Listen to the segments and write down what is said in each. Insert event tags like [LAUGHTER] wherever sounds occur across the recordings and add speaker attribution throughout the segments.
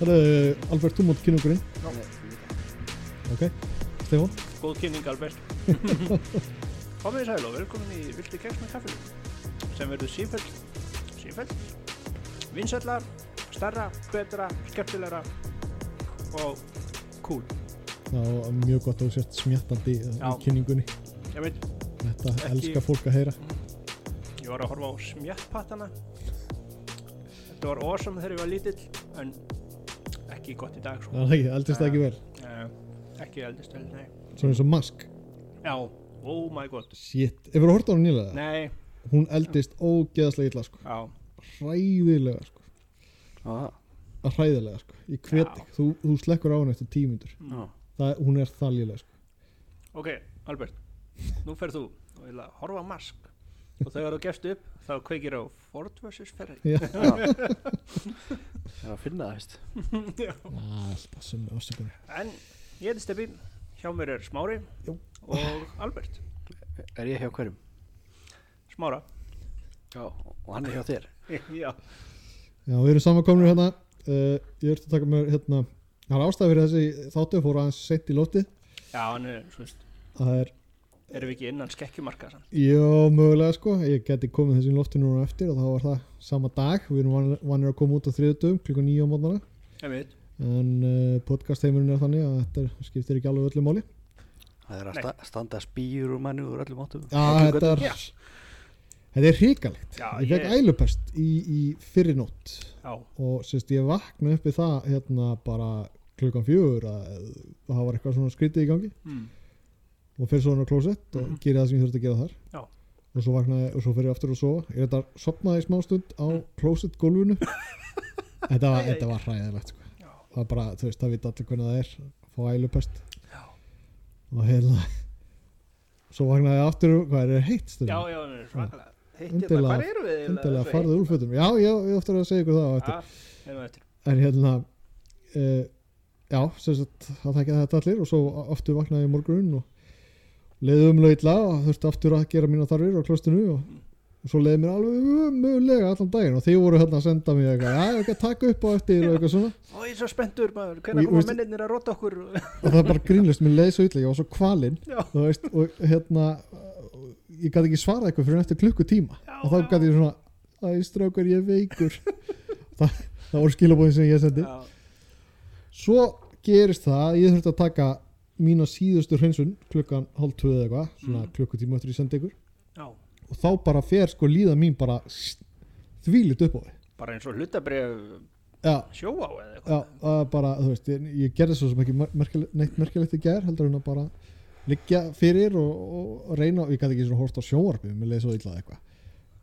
Speaker 1: Herðu, Albert, þú mátt kynna okkur inn. Ok, Stefán.
Speaker 2: Góð kynning Albert Komið í sæl og velkomin í Vilti keks með kaffinu sem verður sífell sífell vinsallar, starra, betra, skemmtilegra og cool
Speaker 1: Það var mjög gott að þú sért smjattandi eh, í
Speaker 2: Já.
Speaker 1: kynningunni.
Speaker 2: Ég veit,
Speaker 1: Þetta
Speaker 2: Ekki-
Speaker 1: elskar fólk að heyra.
Speaker 2: ég var að horfa á smjattpattana Þetta var awesome þegar ég var lítill en ekki gott í dag
Speaker 1: Það
Speaker 2: sko.
Speaker 1: er ekki, eldist það ekki vel.
Speaker 2: uh, Ekki eldist vel, nei
Speaker 1: Svona eins og mask.
Speaker 2: Já, oh my god
Speaker 1: Shit. Ef þú hortið á hún nýlega,
Speaker 2: Nei,
Speaker 1: hún eldist ógeðslega illa, sko.
Speaker 2: já,
Speaker 1: Hræðilega, sko.
Speaker 3: Já,
Speaker 1: Að hræðilega, sko. Ég
Speaker 2: Já.
Speaker 1: hvet ekki. Þú, þú slekkur á hún eftir tímindur.
Speaker 3: já.
Speaker 1: Það, hún er það lélega, sko.
Speaker 2: Ok, Albert, nú ferð þú og ég ætla að horfa á mask og þegar þú gefst upp þá kveikir á Ford vs. Ferrari
Speaker 1: Já.
Speaker 3: Já, já finna það, veist.
Speaker 1: Alltaf sem ásökunni.
Speaker 2: En ég heiti Steppi, hjá mér er Smári
Speaker 1: Jú.
Speaker 2: og Albert
Speaker 3: Er ég hjá hverjum?
Speaker 2: Smára [LAUGHS]
Speaker 3: Já. Og hann er hjá þér?
Speaker 2: Já,
Speaker 1: Já, við erum samankomnir hérna. Uh, ég ert að taka mér hérna. Það er ástæði fyrir þessi þáttu fór aðeins sent í lótið.
Speaker 2: já hann er, svo veist,
Speaker 1: Það er,
Speaker 2: erum við ekki innan skekkjumarka sann
Speaker 1: já, mögulega sko. Ég geti komið þessi í loftið núna á eftir og þá var það sama dag. Við erum van- vanir að koma út á þriðutum klukkan nýja á mótnana.
Speaker 2: Ég veit,
Speaker 1: En uh, podcast heimurinn er þannig að þetta er- skiptir ekki alveg öllu máli.
Speaker 3: Það er að sta standa spýjur úr manni úr öllum áttum.
Speaker 1: Já,
Speaker 3: Öllum
Speaker 1: þetta er,
Speaker 2: Já.
Speaker 1: þetta er hrikalegt.
Speaker 2: Já,
Speaker 1: ég fekk
Speaker 2: ég-
Speaker 1: ælupest í, í fyrirnótt
Speaker 2: já,
Speaker 1: og sérst ég vakna upp við það hérna bara klukkan fjögur að að það var eitthvað svona skrítið í gangi
Speaker 2: mm.
Speaker 1: og fyrir svona á klósett og mm
Speaker 2: Mhm.
Speaker 1: gera það sem ég þurfti að gera þar
Speaker 2: Já.
Speaker 1: og svo vaknaði og svo fyrir ég aftur að sofa ég þetta sopnaði í smá stund á klósett
Speaker 2: [LAUGHS]
Speaker 1: gólfinu þetta, var,
Speaker 2: Mm. Æ, æ, æ.
Speaker 1: þetta var hræðilegt sko.
Speaker 2: Já.
Speaker 1: það er bara, þú veist, það vita allir hvernig það er að fá ælupest
Speaker 2: Já.
Speaker 1: og hérna svo vaknaði ég aftur, hvað er heitt stund
Speaker 2: já, já, hann er svakalega Hittir það,
Speaker 1: Undirlega-
Speaker 2: hvað erum við?
Speaker 1: undirlega farðu úlfötum, já, já, ég oftar að segja ykkur það á eftir
Speaker 2: Hefum eftir,
Speaker 1: en hérna uh, já, sem sagt það tekja þetta allir og svo a- aftur vaknaði ég morgun og leiði umlautla og þurfti aftur að gera mína þarfir á klostinu og, og svo leiði mér alveg umögulega allan daginn og þeir voru hérna að senda mér eitthvað, já, ég ekki að taka upp á eftir og eitthvað svona
Speaker 2: ó ég er svo spenntur maður,
Speaker 1: Og
Speaker 2: hvernig
Speaker 1: ég-
Speaker 2: koma
Speaker 1: veist-
Speaker 2: mennirnir að róta okkur
Speaker 1: og það er bara grínlust, mér leiði svo illa, ég var svo kvalinn
Speaker 2: Já.
Speaker 1: þú veist, og hérna uh, ég gæti ekki svarað eitthvað fyrir eftir klukkutíma
Speaker 2: Já,
Speaker 1: og þá
Speaker 2: já.
Speaker 1: gæti ég svona, æ, strákar, ég er veikur [LAUGHS] það, það voru skilabóðin sem ég sendi
Speaker 2: Já,
Speaker 1: svo gerist það að ég þurfti að taka mína síðustu hreinsun klukkan hálf tvöð eða eitthvað, svona
Speaker 2: Mm.
Speaker 1: klukkutíma eftir ég sendi ykkur
Speaker 2: já,
Speaker 1: og þá bara fer sko líða mín bara þvílit upp á því
Speaker 2: bara eins og hlutabref
Speaker 1: já,
Speaker 2: sjóá eða
Speaker 1: já,
Speaker 2: eitthvað
Speaker 1: það er bara, þú veist, ég, ég gerði svo sem ekki mer- merkile- neitt merkilegt í gær heldur en að bara liggja fyrir og, og reyna, ég gæti ekki svona hort á sjónvarpið mér leiði svo illa eitthvað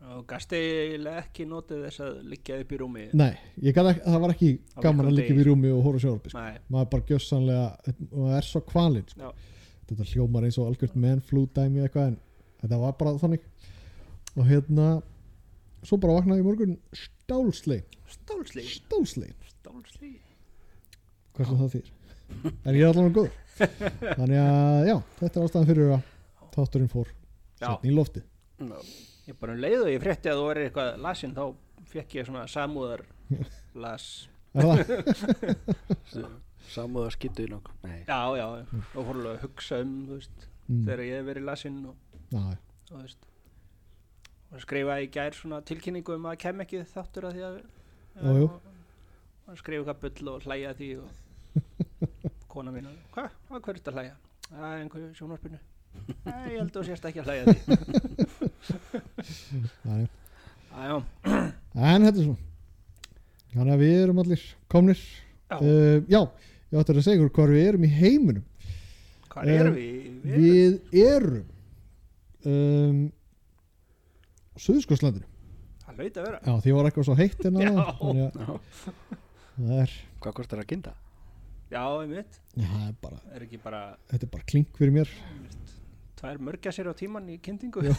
Speaker 2: og gasti eiginlega ekki notið þess að liggja upp í rúmi
Speaker 1: nei, ég gat ekki, það var ekki
Speaker 2: Á
Speaker 1: gaman
Speaker 2: virkum
Speaker 1: að liggja
Speaker 2: degi.
Speaker 1: við rúmi og horfa á sjónvarpið sko.
Speaker 2: Nei,
Speaker 1: maður bara gjössanlega, maður er svo kvalinn sko.
Speaker 2: já,
Speaker 1: þetta hljómar eins og algjört menn flu dæmi eitthvað en þetta var bara þannig og hérna svo bara vaknaði ég í morgun stálslegin,
Speaker 2: stálsli
Speaker 1: stálslegin
Speaker 2: stálsli,
Speaker 1: hvað sem það þýr en ég er allavega
Speaker 2: [LAUGHS]
Speaker 1: góður þannig að já, þetta er ástæðan fyrir að þátturinn fór
Speaker 2: Já.
Speaker 1: setni í lofti
Speaker 3: Já.
Speaker 2: ég bara um leið og ég frétti að þú verið eitthvað lasin þá fekk ég svona samúðar las, [LAUGHS]
Speaker 1: er það?
Speaker 3: Samúða skittu í nokkuð. Nei.
Speaker 2: já, já og fórlega að hugsa um, þú veist
Speaker 1: Mm.
Speaker 2: þegar ég hef verið lasin og,
Speaker 1: Já,
Speaker 2: og þú veist og skrifa í gær svona tilkynningu um að kem ekki þáttur að því að
Speaker 1: Jú, jú.
Speaker 2: og skrifa eitthvað bull og hlæja að því og kona mín hvað, hvað hverju þetta hlæja? að einhverju sjónvarpinu Æ, ég held að þú sérst ekki að hlæja að því
Speaker 1: það er-
Speaker 2: Æjá,
Speaker 1: en þetta er svona þannig að við erum allir komnir
Speaker 2: já,
Speaker 1: uh, já, ég ætti að segja ykkur hvar við erum í heiminum
Speaker 2: hvað erum
Speaker 1: eh,
Speaker 2: við? Við,
Speaker 1: við erum um, Suðurskostlandinu
Speaker 2: það hlaut að vera
Speaker 1: Já, því var eitthvað svo heitt en
Speaker 2: Já.
Speaker 1: að þannig að
Speaker 3: Já.
Speaker 1: það er,
Speaker 3: Hvað kostar að ginda?
Speaker 2: Já, einmitt,
Speaker 1: já, það er bara,
Speaker 2: er ekki bara
Speaker 1: þetta er bara klink fyrir mér
Speaker 2: tvær mörgja sér á tíman í kyndingu [LAUGHS]
Speaker 1: Já.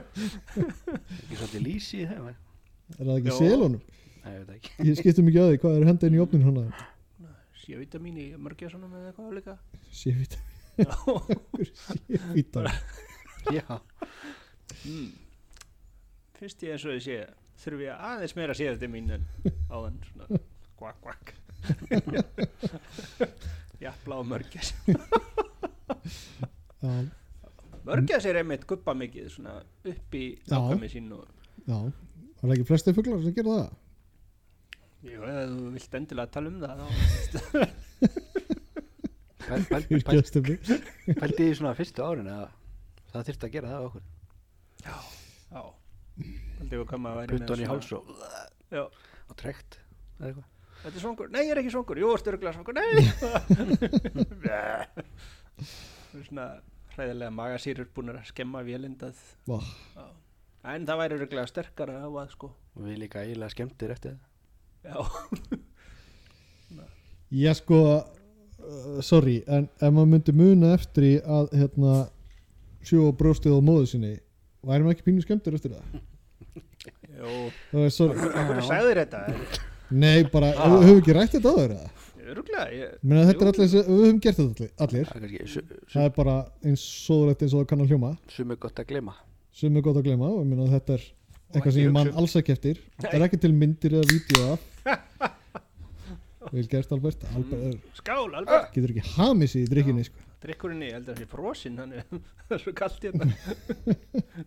Speaker 3: Ekki svolítið lýsi í þeim? eh?
Speaker 1: er það ekki
Speaker 2: Jó.
Speaker 1: selunum,
Speaker 3: Nei, ég veit það ekki.
Speaker 1: ég skiptum ekki að því hvað er henda inn í hérna. opnin hana,
Speaker 2: Sjövitamín í mörgja svona með eitthvað
Speaker 1: [LAUGHS]
Speaker 2: líka
Speaker 1: sévita
Speaker 2: Já,
Speaker 1: sévita,
Speaker 3: Já.
Speaker 2: mm. Fyrst ég eins og ég sé þurfi ég aðeins meira að sé þetta mín en áðan svona kvakk,
Speaker 1: [LAUGHS]
Speaker 2: kvakk Jafla og mörgæs
Speaker 1: já,
Speaker 2: Mörgæs er einmitt guppa mikið svona upp í
Speaker 1: Já.
Speaker 2: nákvæmi sín og
Speaker 1: já það er ekki flesti fuglar sem gera það
Speaker 2: Jú, ef þú vilt endilega tala um það þá
Speaker 3: [LAUGHS] Pæl- pæl-
Speaker 1: Fyrir
Speaker 3: pæl-
Speaker 1: gestum við. [LAUGHS]
Speaker 3: Pældi því svona fyrstu árin að það þyrfti að gera það á okkur
Speaker 2: Já Haldið við hvað maður væri með
Speaker 3: Puttan í
Speaker 2: svona-
Speaker 3: háls og,
Speaker 2: Já.
Speaker 3: og trekt eða eitthvað.
Speaker 2: Þetta er svangur, nei ég er ekki svangur, jú, styrkla svangur, nei [LAUGHS] Bleh. Svona hræðilega magasýrur búin að skemma vélindað
Speaker 1: Vá.
Speaker 2: Já. En það væri reglega sterkara á að sko
Speaker 3: og við líka eiginlega skemmtir eftir það
Speaker 2: Já,
Speaker 1: Já sko uh, sorry, en ef maður myndi muna eftir í að hérna sjó og brjóstið á móðu sinni væri maður ekki pínu skemmtur eftir það
Speaker 2: jú
Speaker 1: Það er sorry,
Speaker 2: Hvernig sagði þér þetta?
Speaker 1: nei bara ah. við höfum ekki rætt þetta áður eða?
Speaker 2: Ruglega, ég
Speaker 1: Ég meina þetta er
Speaker 2: Jú.
Speaker 1: allir, þessi- við höfum gert þetta allir, allir.
Speaker 3: Það er kannski su-
Speaker 1: það er bara eins sóðrætt eins og það kann að hljóma
Speaker 3: su- sumir gott að glema
Speaker 1: sem er gott að gleyma og ég meina þetta er eitthvað sem
Speaker 2: ekki
Speaker 1: ég mann
Speaker 2: hugsun.
Speaker 1: alls ekki eftir það er ekki til myndir eða vídeo af
Speaker 2: [LAUGHS]
Speaker 1: vel gert Albert
Speaker 2: Mm.
Speaker 1: Albert er,
Speaker 2: skál, alveg
Speaker 1: getur ekki hamið sér í drikkinni sko.
Speaker 2: Drykkurinn í, ég held að það sé frosinn hann er- [LAUGHS] Það er svo kalt hérna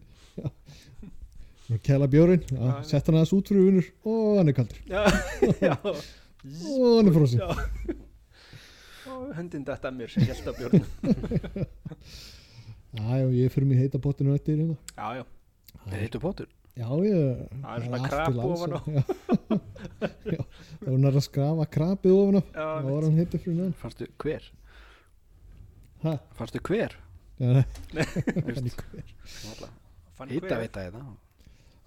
Speaker 1: kæla bjórin, sett hann aðeins út fyrir vinnur og hann er kaldur
Speaker 2: Já, já
Speaker 1: og hann er frósin
Speaker 2: Já Og höndin datt að mér sem held að björnum
Speaker 1: já, ég fyrir mig heita pottinu eftir hérna.
Speaker 2: Já, já,
Speaker 3: Það heitur pótur
Speaker 1: já, ég
Speaker 2: Það er svona krap ofan á.
Speaker 1: já, Já, [LAUGHS] ef hún er að skrafa krapið ofan á
Speaker 2: Já,
Speaker 1: þá var hann heitur fyrir neðan
Speaker 3: Fannstu hver?
Speaker 1: Ha?
Speaker 3: Fannstu [LAUGHS] hver?
Speaker 1: Já, nei, hann
Speaker 3: Hýta
Speaker 1: er hver.
Speaker 2: fann hver-
Speaker 3: vita þetta
Speaker 1: Já, við-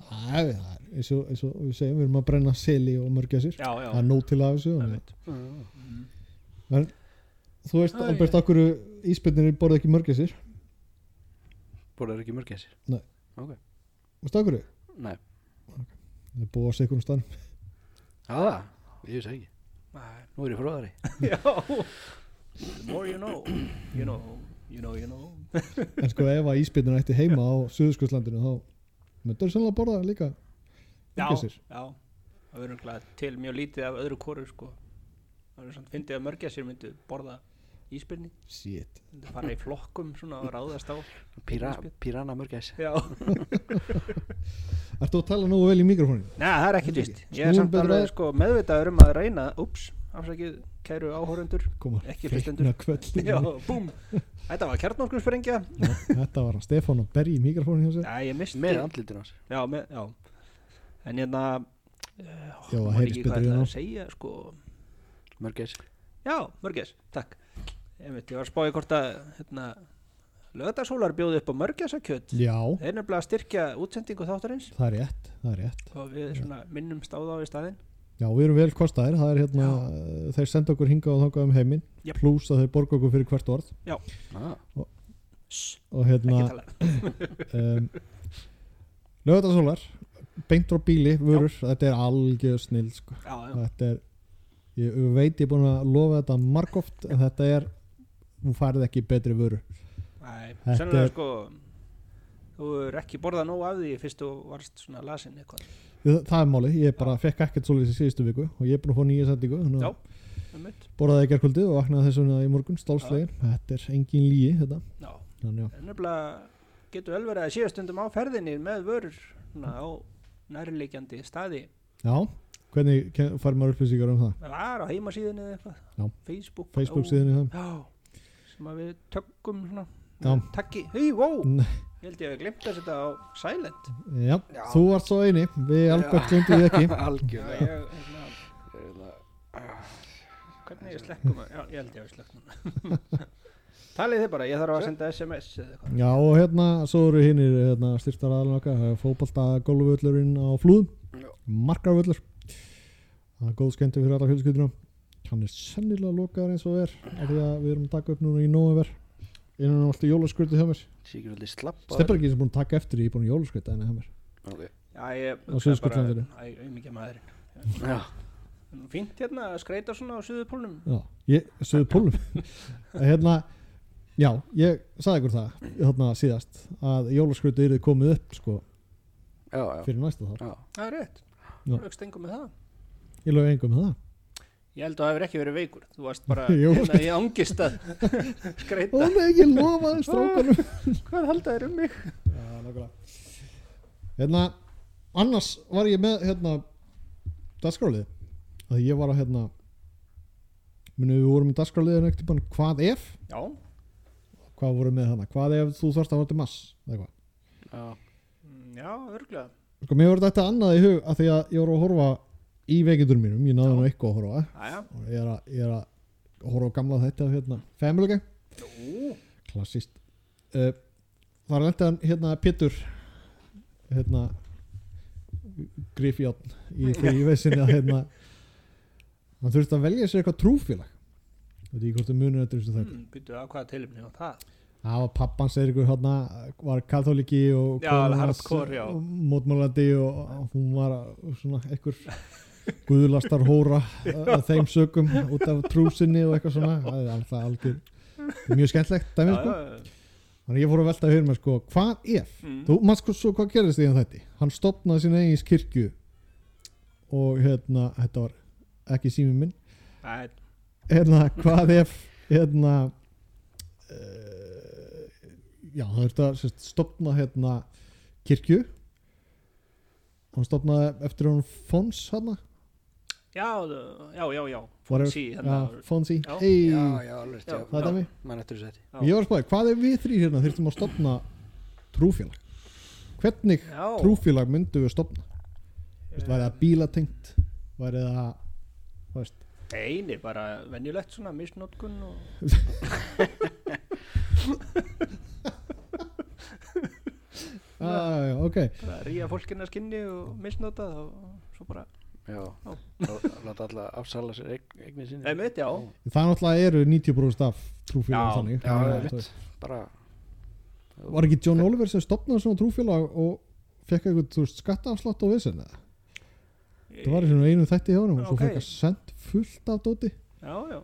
Speaker 1: það er eins og, eins og við segjum, við erum að brenna seli og mörgja sér
Speaker 2: Já, já
Speaker 1: það er nóg til af þessu
Speaker 2: Það
Speaker 1: þannig
Speaker 2: veit.
Speaker 1: að- en, þú veist,
Speaker 2: Æ.
Speaker 1: Albert, okkur íspennir borðið ekki mörgja sér
Speaker 3: Borðar ekki mörg þessir?
Speaker 1: Nei.
Speaker 3: Ok,
Speaker 1: veist okkur,
Speaker 3: nei
Speaker 1: það er búið á sekundum stann
Speaker 3: Það, ég vissi það ekki
Speaker 2: Nei.
Speaker 3: Nú er ég [LAUGHS] fróðari
Speaker 2: Já The more you know You know, you know, you know
Speaker 1: en sko ef að íspennir ætti heima á Suðurskjöldslandinu þá myndur það sannlega borða líka
Speaker 2: Já,
Speaker 1: mörgja sér
Speaker 2: já Það verður náttúrulega til mjög lítið af öðru kóru sko Það verður svona fyndið að mörgja sér myndu borða ísbyrni
Speaker 1: Shit.
Speaker 2: Það fara í flokkum svona og ráðast á
Speaker 3: Píra,
Speaker 2: Spil.
Speaker 3: Píranna mörg þessir
Speaker 2: Já
Speaker 1: Ertu að tala nógu vel í mikrofóninu?
Speaker 2: Nei, það er ekki dýst Ég er
Speaker 1: Snúum
Speaker 2: samt
Speaker 1: betur
Speaker 2: alveg
Speaker 1: að-
Speaker 2: sko meðvitaður um að reyna Úps, afsakið, kæru
Speaker 1: [LAUGHS]
Speaker 2: áhórendur
Speaker 1: Koma,
Speaker 2: Ekki hlustendur. [LAUGHS] Já,
Speaker 1: kvöld
Speaker 2: búm Þetta var kjarnorkum sprengja
Speaker 1: Þetta var hann Stefán að berja í mikrofóninu hjá sér
Speaker 2: Já, ég misti
Speaker 3: Með andlitin hans
Speaker 2: Já, með, já En hérna eh,
Speaker 1: Já,
Speaker 2: man
Speaker 1: það heyrist
Speaker 2: ekki hvað
Speaker 1: betur í
Speaker 2: ætlaði
Speaker 1: hann
Speaker 2: að segja sko
Speaker 3: Mörg þessir
Speaker 2: Já, mörgæs, takk Einmitt, Ég var að spáði hvort að hérna, lögðarsólar bjóði upp á mörgæsakjöt
Speaker 1: Já,
Speaker 2: Þeir er nefnilega að styrkja útsendingu þáttarins
Speaker 1: það er rétt, það er rétt
Speaker 2: og við svona minnum stáð á í staðinn
Speaker 1: Já, við erum vel kostaðir, það er hérna uh, þeir senda okkur hingað og þangað um heiminn
Speaker 2: Jep.
Speaker 1: pluss að þeir borga okkur fyrir hvert orð
Speaker 3: ah,
Speaker 2: Sss,
Speaker 1: og
Speaker 2: Ekki
Speaker 1: hérna
Speaker 2: tala
Speaker 1: um, lögðarsólar beint frá bíli, vörur, þetta er algjör snill sko.
Speaker 2: Já, já,
Speaker 1: þetta er ég veit ég er búin að lofa þetta margóft en þetta er, hún færið ekki betri vöru
Speaker 2: næ,
Speaker 1: Þetta
Speaker 2: sennilega
Speaker 1: er-
Speaker 2: sko þú er ekki borðað nóg af því fyrst þú varst svona lasin eitthvað
Speaker 1: það, það er máli, ég bara fekk ekkert svolítið í síðustu viku og ég er búin að fá nýja sendingu þannig að
Speaker 2: Já. Einmitt.
Speaker 1: borðaði ekki erkvöldið og vaknaði þess vegna í morgun stálslegin, þetta er engin líi þetta,
Speaker 2: Já,
Speaker 1: þannig
Speaker 2: en nefnilega getur vel verið að séu stundum á ferðinni með vörur svona á nærleikjandi staði
Speaker 1: já já, hvernig ke- fær maður upplýsingar um það
Speaker 2: var á heimasíðinni eða eitthvað
Speaker 1: Já.
Speaker 2: Facebook,
Speaker 1: Facebook
Speaker 2: já.
Speaker 1: síðan í það,
Speaker 2: Já, sem að við tökum svona
Speaker 1: Já.
Speaker 2: Takki, hei, wow
Speaker 1: Nei.
Speaker 2: Ég held ég að glimta þetta á Silent
Speaker 1: já, þú varst svo eini við alveg glemdi því ekki
Speaker 2: Já,
Speaker 3: Algjörlega
Speaker 2: ég, hérna,
Speaker 3: Hérna,
Speaker 2: Hvernig ég slekkum að, já, ég held ég að slekkum [LAUGHS] Talið þið bara, ég þarf að senda SMS eða eitthvað
Speaker 1: já og hérna, svo eru hinnir hérna, styrtar aðalinn okkar, fótbalta golfvöllurinn á flúðum,
Speaker 3: Já.
Speaker 1: markarvöllur það er góð skemmti fyrir alla fjölskyldina hann er sennilega lokaður eins og er af því að við erum að taka upp núna í nóver innan um alltaf jólaskröti hjá mér
Speaker 3: Sýkir svolítið slapp
Speaker 1: Stefan er ekki sem búin að taka eftir því, ég er búin að jólaskröta henni hjá mér
Speaker 3: okay.
Speaker 2: Já, ég
Speaker 1: Á Suðurskautslandinu.
Speaker 2: Æ, auðmikið maðurinn
Speaker 3: Já,
Speaker 2: Fínt hérna að skreita svona á suðupólnum
Speaker 1: Já, ég, sögðu pólum [LAUGHS] hérna, já, ég sagði ykkur það, þarna síðast að jólaskrötu eru komið upp sko,
Speaker 3: já, já,
Speaker 1: fyrir næsta þar,
Speaker 3: já.
Speaker 2: Það er rétt,
Speaker 1: Já.
Speaker 2: aukst engum með það
Speaker 1: ég lög engum með það
Speaker 2: Ég held að það hefur ekki verið veikur. Þú varst bara [LAUGHS]
Speaker 1: Jú.
Speaker 2: hérna í angist [LAUGHS] að skreita.
Speaker 1: Ó nei, ég lofaði strákanum
Speaker 2: Hvað halda þér um mig?
Speaker 1: Já, nákvæmlega Hérna, annars var ég með hérna, dagskrálið að ég var að hérna muni við vorum í dagskrálið en ekkert hvað ef,
Speaker 2: Já.
Speaker 1: hvað vorum við með hana hvað ef þú þarft að fara til mass eða eitthvað
Speaker 3: Já.
Speaker 2: Mm, Já, örglega.
Speaker 1: Sko, mér voru þetta annað í hug að því að ég voru að horfa í veikindur mínum, ég náði nú eitthvað að horfa
Speaker 2: Æja.
Speaker 1: og ég er að, ég er að horfa á gamla þetta hérna, Family Guy
Speaker 2: Nú.
Speaker 1: klassist uh, þar lendi hann hérna Pétur hérna Griffjón í þegar
Speaker 2: [LAUGHS]
Speaker 1: ég veisin að hérna hann þurfti að velja sér eitthvað trúfélag veit ekki hvort þau munur þetta þessu þætti
Speaker 2: Mm, Býtu að hvaða tilumni á það.
Speaker 1: það var pappan segir ykkur hérna var katholiki og
Speaker 2: Já,
Speaker 1: konan hans,
Speaker 2: hardcore, já.
Speaker 1: mótmælandi og hún var svona einhver guðlastar
Speaker 2: [LAUGHS]
Speaker 1: hóra að þeim sökum út af trúsinni og eitthvað svona það er alveg algjör mjög skemmtlegt dæmi sko
Speaker 2: já.
Speaker 1: Þannig ég fór að velta að höfum að sko, hvað ef?
Speaker 2: Mm.
Speaker 1: Þú, maður sko, svo, hvað gerðist því að þetta? Hann stopnaði sína eigin kirkju og hérna, þetta var ekki sími minn,
Speaker 2: Æ,
Speaker 1: hérna, hvað ef, hérna, uh, já, það þurfti að sérst, stopna, hérna, kirkju, hann stopnaði eftir hún Fons, hérna,
Speaker 2: já, þú- já, já, já.
Speaker 1: Whatever.
Speaker 2: Sí,
Speaker 1: ja,
Speaker 2: hérna.
Speaker 1: Fonsi,
Speaker 2: Já.
Speaker 1: hei,
Speaker 3: Já, já, alveg rétt,
Speaker 2: Já.
Speaker 3: já.
Speaker 1: það er dæmi.
Speaker 3: Mann eftir þessu
Speaker 2: Já.
Speaker 1: Ég var að spáði, hvað ef við þrý hérna þurftum að stopna trúfélag? Hvernig
Speaker 2: Já.
Speaker 1: trúfélag myndum við stopna Vist, væri það bílatengt væri það þú veist,
Speaker 2: Eini, bara venjulegt svona misnótkun og...
Speaker 1: já, já, já, ok
Speaker 2: bara ríja fólkinn að skinni og misnota það og svo bara
Speaker 3: Já.
Speaker 2: Já.
Speaker 3: Lá- Láta alla afsala sér eign- eignir sinni.
Speaker 2: Einmitt, já.
Speaker 1: það náttúrulega eru 90% af
Speaker 2: Já,
Speaker 1: trúfélag þannig
Speaker 3: Já,
Speaker 1: Þannig að,
Speaker 3: alveg
Speaker 1: þú
Speaker 3: rétt.
Speaker 1: veist,
Speaker 3: Bara,
Speaker 1: var ekki John Oliver sem stopnaði svona trúfélag og fekk eitthvað þú veist, skattaafslátt á vissin það var í svona einu þætti hjá honum og svo
Speaker 2: Ok.
Speaker 1: fekk að send fullt af dóti
Speaker 2: Já, já.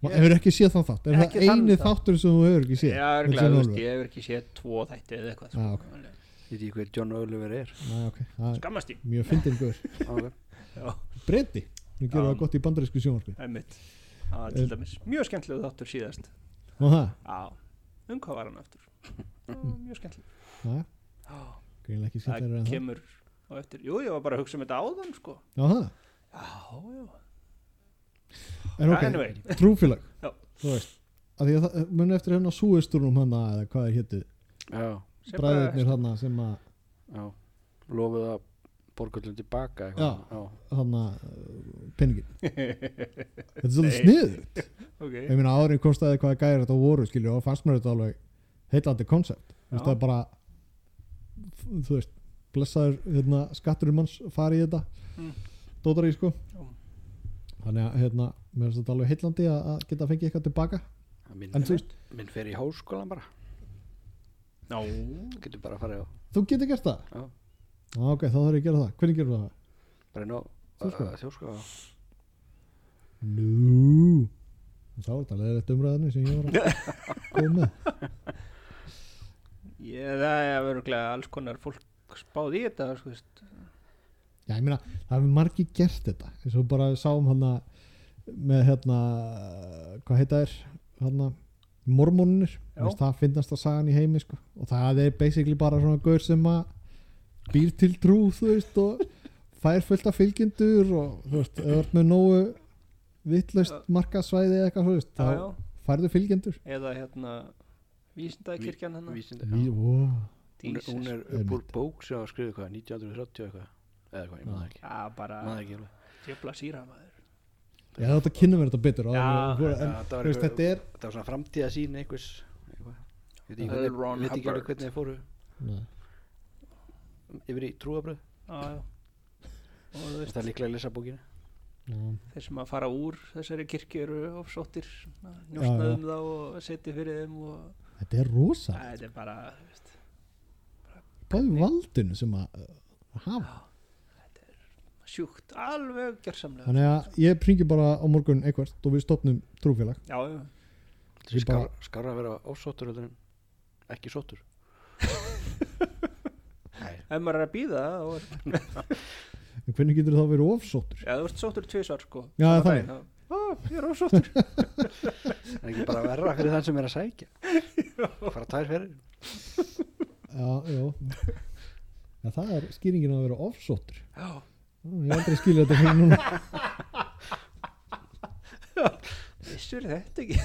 Speaker 1: maður
Speaker 2: Ég-
Speaker 1: hefur ekki séð þann þátt er
Speaker 2: Ekki
Speaker 1: það
Speaker 2: þann
Speaker 1: eini
Speaker 2: þátt.
Speaker 1: þáttur sem þú hefur ekki séð
Speaker 2: Já,
Speaker 1: með
Speaker 2: örgulega,
Speaker 1: John
Speaker 2: þú veist,
Speaker 1: Oliver
Speaker 2: ég hefur ekki séð tvo þætti eða eitthvað.
Speaker 1: Já,
Speaker 2: sko.
Speaker 1: Ah, ok.
Speaker 3: ég veit ekki hver John Oliver [LAUGHS] er.
Speaker 1: Nei, ok, það er
Speaker 2: Skammast í.
Speaker 1: mjög fyndin guður
Speaker 3: Já, ok.
Speaker 2: Já,
Speaker 1: breyti, nú gerur
Speaker 2: Já.
Speaker 1: það gott í bandarísku sjónvarpi
Speaker 2: einmitt. Já, til
Speaker 1: Eh-
Speaker 2: dæmis. Mjög skemmtilega þáttur síðast.
Speaker 1: og það,
Speaker 2: Já, um hvað var hann
Speaker 1: [LAUGHS]
Speaker 2: aftur? Já, Mjög skemmtilega.
Speaker 1: það,
Speaker 2: Já,
Speaker 1: greinlega ekki
Speaker 2: það
Speaker 1: skemmtlar en það
Speaker 2: kemur á eftir. Jú, ég var bara að hugsa um þetta áðan, sko.
Speaker 1: Já, það
Speaker 2: Já, já.
Speaker 1: En ok,
Speaker 2: Anyway.
Speaker 1: trúfélag
Speaker 2: Já.
Speaker 1: Þú veist að Því að það muni eftir hérna súisturnum hann eða hvað er hétu,
Speaker 3: Já,
Speaker 2: Sem bara-
Speaker 1: bræðurnir hann sem að
Speaker 3: já. Lofuð að borga öllum tilbaka eitthvað. Já.
Speaker 1: hann að uh,
Speaker 2: [LAUGHS]
Speaker 1: peningin Þetta er svolítið sniður
Speaker 2: Ok,
Speaker 1: Ég meina áðurinn komst að því hvað gæri þetta voru skilju og fannst mér þetta alveg heillandi koncept Þú veist
Speaker 2: Já.
Speaker 1: það er bara þú veist, blessaður hérna, skatturinn manns fari í þetta
Speaker 2: Mm.
Speaker 1: dótar í sko
Speaker 2: Já.
Speaker 1: Þannig að hérna, mér finnst þetta alveg heillandi að, að geta fengið eitthvað tilbaka
Speaker 3: Minn,
Speaker 1: En þú veist,
Speaker 3: minn fer í háskólan bara.
Speaker 2: ná,
Speaker 3: Getur bara að fara á.
Speaker 1: þú getur gert það
Speaker 3: Já.
Speaker 1: Já, ok, þá þarf ég að gera það, hvernig gerum við það?
Speaker 3: Bara inn á
Speaker 1: Þjóðskrá?
Speaker 3: þjóðskóla.
Speaker 1: Nú Þá er þetta leðilegt umræðinu sem ég var
Speaker 2: [LAUGHS]
Speaker 1: að koma með
Speaker 2: ég, það er örgulega alls konar fólk spáð í þetta, sko, þú veist.
Speaker 1: Já, ég meina, það hefur margi gert þetta eins og bara við sáum hana með hérna, hvað heita þær hana, mormónunir
Speaker 2: Já.
Speaker 1: Vist, það finnast að sagan í heimi sko. og það er basically bara svona gaur sem að býr til trú þú veist og fær fullt af fylgjendur og þú veist, ef þú ert með nógu
Speaker 2: Já.
Speaker 1: vittlaust markasvæði eða eitthvað þú veist,
Speaker 2: Já, já.
Speaker 1: þá færðu fylgjendur
Speaker 2: eða hérna vísindakirkjan hérna. hennar
Speaker 3: Vísindi. Já.
Speaker 1: Í- ó,
Speaker 3: Hún er, hún
Speaker 2: Jesus.
Speaker 3: er upp úr
Speaker 1: Einmitt.
Speaker 3: bók sem var skrifið hvað, 1930 eitthvað eða eitthvað, ég maður ekki,
Speaker 2: Já, bara
Speaker 3: maður ekki alveg
Speaker 2: djöfla síra maður
Speaker 1: Ég hef þetta að kynna mér þetta betur
Speaker 2: Já,
Speaker 1: áður en-
Speaker 3: já,
Speaker 1: en,
Speaker 3: þetta var
Speaker 1: þú veist,
Speaker 3: eitthvað-
Speaker 1: þetta er
Speaker 3: þetta var svona framtíða sín einhvers eitthvað. ég veit ekki
Speaker 2: Earl Ron
Speaker 3: hvernig, veit ekki alveg
Speaker 2: Hubbard.
Speaker 3: hvernig þeir fóru
Speaker 1: Nei.
Speaker 3: yfir í trúabröð,
Speaker 2: Já,
Speaker 3: [LAUGHS]
Speaker 2: já Og þú veist,
Speaker 3: þetta er líklega að lesa bókina
Speaker 1: Já.
Speaker 2: þeir sem að fara úr þessari kirkju eru ofsóttir
Speaker 1: Já, já.
Speaker 2: njóstnaðum þá og setja fyrir þeim og
Speaker 1: þetta er rosa
Speaker 2: Æ, þetta er bara, þú veist,
Speaker 1: bæði valdinu sem að uh, hafa
Speaker 2: sjúkt alveg gersamlega
Speaker 1: þannig að ég pringi bara á morgun eitthvað og við stopnum trúfélag
Speaker 2: Já, já,
Speaker 1: Ég bara-
Speaker 3: Skár- skárra að vera ofsóttur heldur en ekki
Speaker 1: [LAUGHS]
Speaker 3: sóttur Nei,
Speaker 2: ef maður er að býða og
Speaker 1: en hvernig getur það verið ofsóttur
Speaker 2: Já, þú ert sóttur tvisar sko
Speaker 1: Já,
Speaker 2: Sama
Speaker 1: þannig.
Speaker 2: daginn, þá, Á, ég er ofsóttur
Speaker 1: [LAUGHS]
Speaker 3: Það er ekki bara verra fyrir þann sem er að sækja Fara tær fyrir
Speaker 1: já, já. já, það er skýringin að vera ofsóttur
Speaker 2: Já,
Speaker 1: Já, ég aldrei skilja þetta fyrir
Speaker 3: [LAUGHS]
Speaker 1: núna
Speaker 2: vissur þetta ekki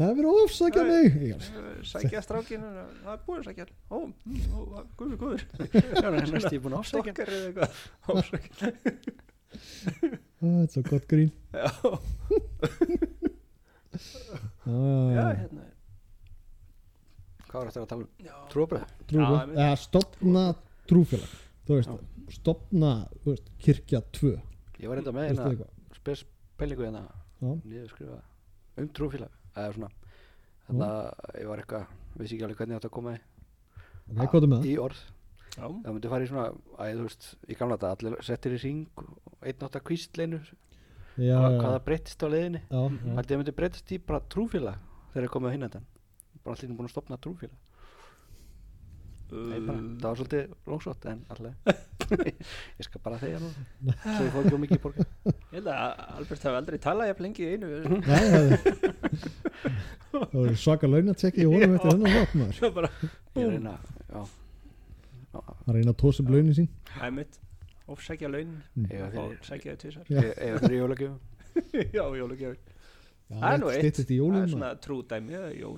Speaker 1: það er verið að ofsækja mig Já,
Speaker 2: [LAUGHS] Sækja strákinu, það er búið að sækja hann. Ó, mm, ó, guður, [LAUGHS] guður
Speaker 3: Já, næst ég er búin að afsækja
Speaker 2: Stokkar eða eitthvað Ofsókn.
Speaker 1: það er svo gott grín
Speaker 2: Já,
Speaker 1: Já, já,
Speaker 2: já,
Speaker 1: já.
Speaker 2: hérna
Speaker 3: Hvað er þetta að tala um?
Speaker 2: Já,
Speaker 3: Trúabröð?
Speaker 2: Já,
Speaker 1: trúfélag
Speaker 2: einmitt.
Speaker 1: eða stopna trúfélag þú veist, stopna þú veist, kirkja 2
Speaker 3: Ég var enda með
Speaker 1: veistu
Speaker 3: hérna
Speaker 1: eitthvað?
Speaker 3: spes pelingu hérna
Speaker 1: Já.
Speaker 3: niður skrifa um trúfélag eða svona þannig að ég var eitthvað, vissi ekki alveg hvernig ég átti að koma því.
Speaker 1: ok, hvað er með það?
Speaker 3: í orð
Speaker 2: já,
Speaker 3: það myndi fara í svona, að þú veist í gamla þetta, allir settir í ring og einn átt að kvístleinu,
Speaker 1: já, já,
Speaker 3: hvað
Speaker 1: já,
Speaker 3: það breyttist á leiðinni
Speaker 1: já,
Speaker 3: Haldið þið myndi breytast í bara trúfélag þegar þið komið á hinnendan bara allir búin að stopna trúfélag
Speaker 2: Uh,
Speaker 3: Nei, bara, það var svolítið lóngsótt en alltaf [LAUGHS] ég skal bara þegja [LAUGHS] nú svo ég fór ekki of mikið í borga
Speaker 2: Ég held að Albert hafi aldrei talað jafn lengi í [LAUGHS] einu
Speaker 1: já, já, já. það var svaka launatekki í honum eftir þennan þátt maður
Speaker 2: Svo bara,
Speaker 3: ég
Speaker 2: búm
Speaker 3: reyna, já
Speaker 1: að reyna að tósa upp launin sín
Speaker 2: Æmitt, ofsækja laun
Speaker 3: eiga
Speaker 2: og
Speaker 3: fyrir,
Speaker 2: sækja þau tvisar
Speaker 1: Já.
Speaker 3: eiga fyrir jólagjöfum
Speaker 2: Mm. [LAUGHS] Já, jólagjafir
Speaker 1: Já,
Speaker 2: Það er nú eitt.
Speaker 1: styttist í
Speaker 2: Það
Speaker 1: jólin
Speaker 2: er
Speaker 1: maður.
Speaker 2: svona trúdæmi eða jól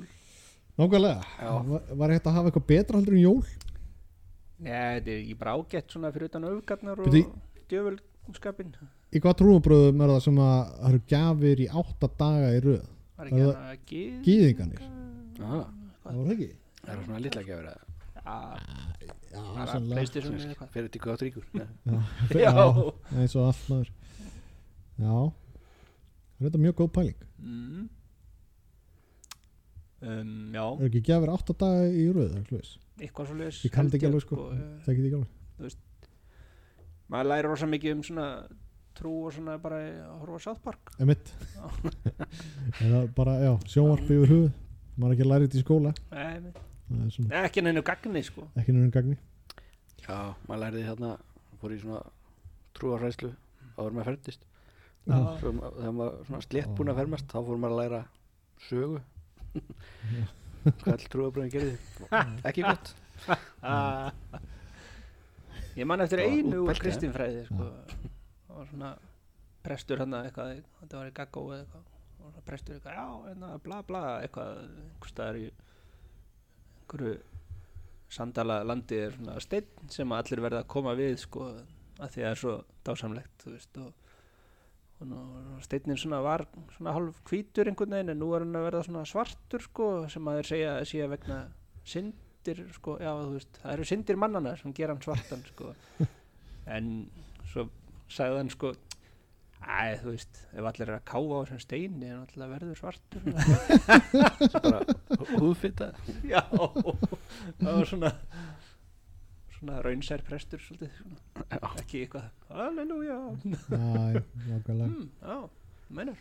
Speaker 1: nákvæmlega,
Speaker 3: Já.
Speaker 1: var, var hægt að hafa eitthvað betra heldur en jól
Speaker 2: Nei, þetta er ekki bara ágætt svona fyrir utan öfgarnar og
Speaker 1: Bíddu,
Speaker 2: djöfulskapin
Speaker 1: í hvað trúabröðum er það sem að það eru gjafir í átta daga í röð
Speaker 2: Var
Speaker 1: Er
Speaker 2: ekki
Speaker 1: það-
Speaker 2: hann að gýð
Speaker 1: gýðinganir,
Speaker 3: Aha,
Speaker 1: það var það ekki
Speaker 3: það eru svona litla gefur að
Speaker 2: Já,
Speaker 1: já,
Speaker 2: bara
Speaker 1: sannlega
Speaker 2: PlayStation eða eitthvað
Speaker 3: fyrir til gott ríkur Nei,
Speaker 1: já,
Speaker 2: Já,
Speaker 1: já, eins og allt maður já það er þetta mjög góð pæling
Speaker 2: mm. um, já
Speaker 1: er ekki gefur átta daga í röð það er hljóðis.
Speaker 2: eitthvað svo leiðis
Speaker 1: Mm. ég kann þetta ekki alveg sko það ekki ekki alveg
Speaker 2: eh. maður læri rosa mikið um svona trú og svona bara að horfa á South Park
Speaker 1: emitt
Speaker 2: Já.
Speaker 1: eða bara já sjónvarpi yfir hugð maður er ekki að læra þetta í skóla
Speaker 2: Nei, nei,
Speaker 1: það er svona
Speaker 2: nei, ekki neinu gagni sko
Speaker 1: ekki nörðum gagni
Speaker 3: já, maður lærði hérna fór í svona trúarhræslu áður maður fermdist
Speaker 1: Já.
Speaker 3: Svo ma- þegar maður svona slétt búin að fermast þá fór maður að læra sögu hvað all trúabröðin [LAUGHS] gerði ekki gott
Speaker 2: ah. ég man eftir
Speaker 3: Það var
Speaker 2: einu úr
Speaker 3: útpælt, ja.
Speaker 2: kristinfræði sko. það var svona prestur hann eitthvað þetta var í gaggó eða eitthvað og svona prestur eitthvað, já, hérna, bla bla eitthvað, einhvers staðar í einhverju sandala landi er svona steinn sem allir verða að koma við sko, að því að það er svo dásamlegt þú veist, og, og nú, steinin svona var svona hálf hvítur einhvern veginn en nú er hann að verða svona svartur sko, sem að þeir segja að sé vegna syndir sko, já, þú veist, það eru syndir mannana sem gera hann svartan sko. en svo sagði hann sko Æ, þú veist, ef allir er að káfa á þessum steini en allir verður svartur
Speaker 3: sem bara húðfitta
Speaker 2: Já, það var svona svona raunsær prestur svolítið, svona, ekki eitthvað Halleluja,
Speaker 1: Æ, nákvæmlega.
Speaker 2: mm, já, mennur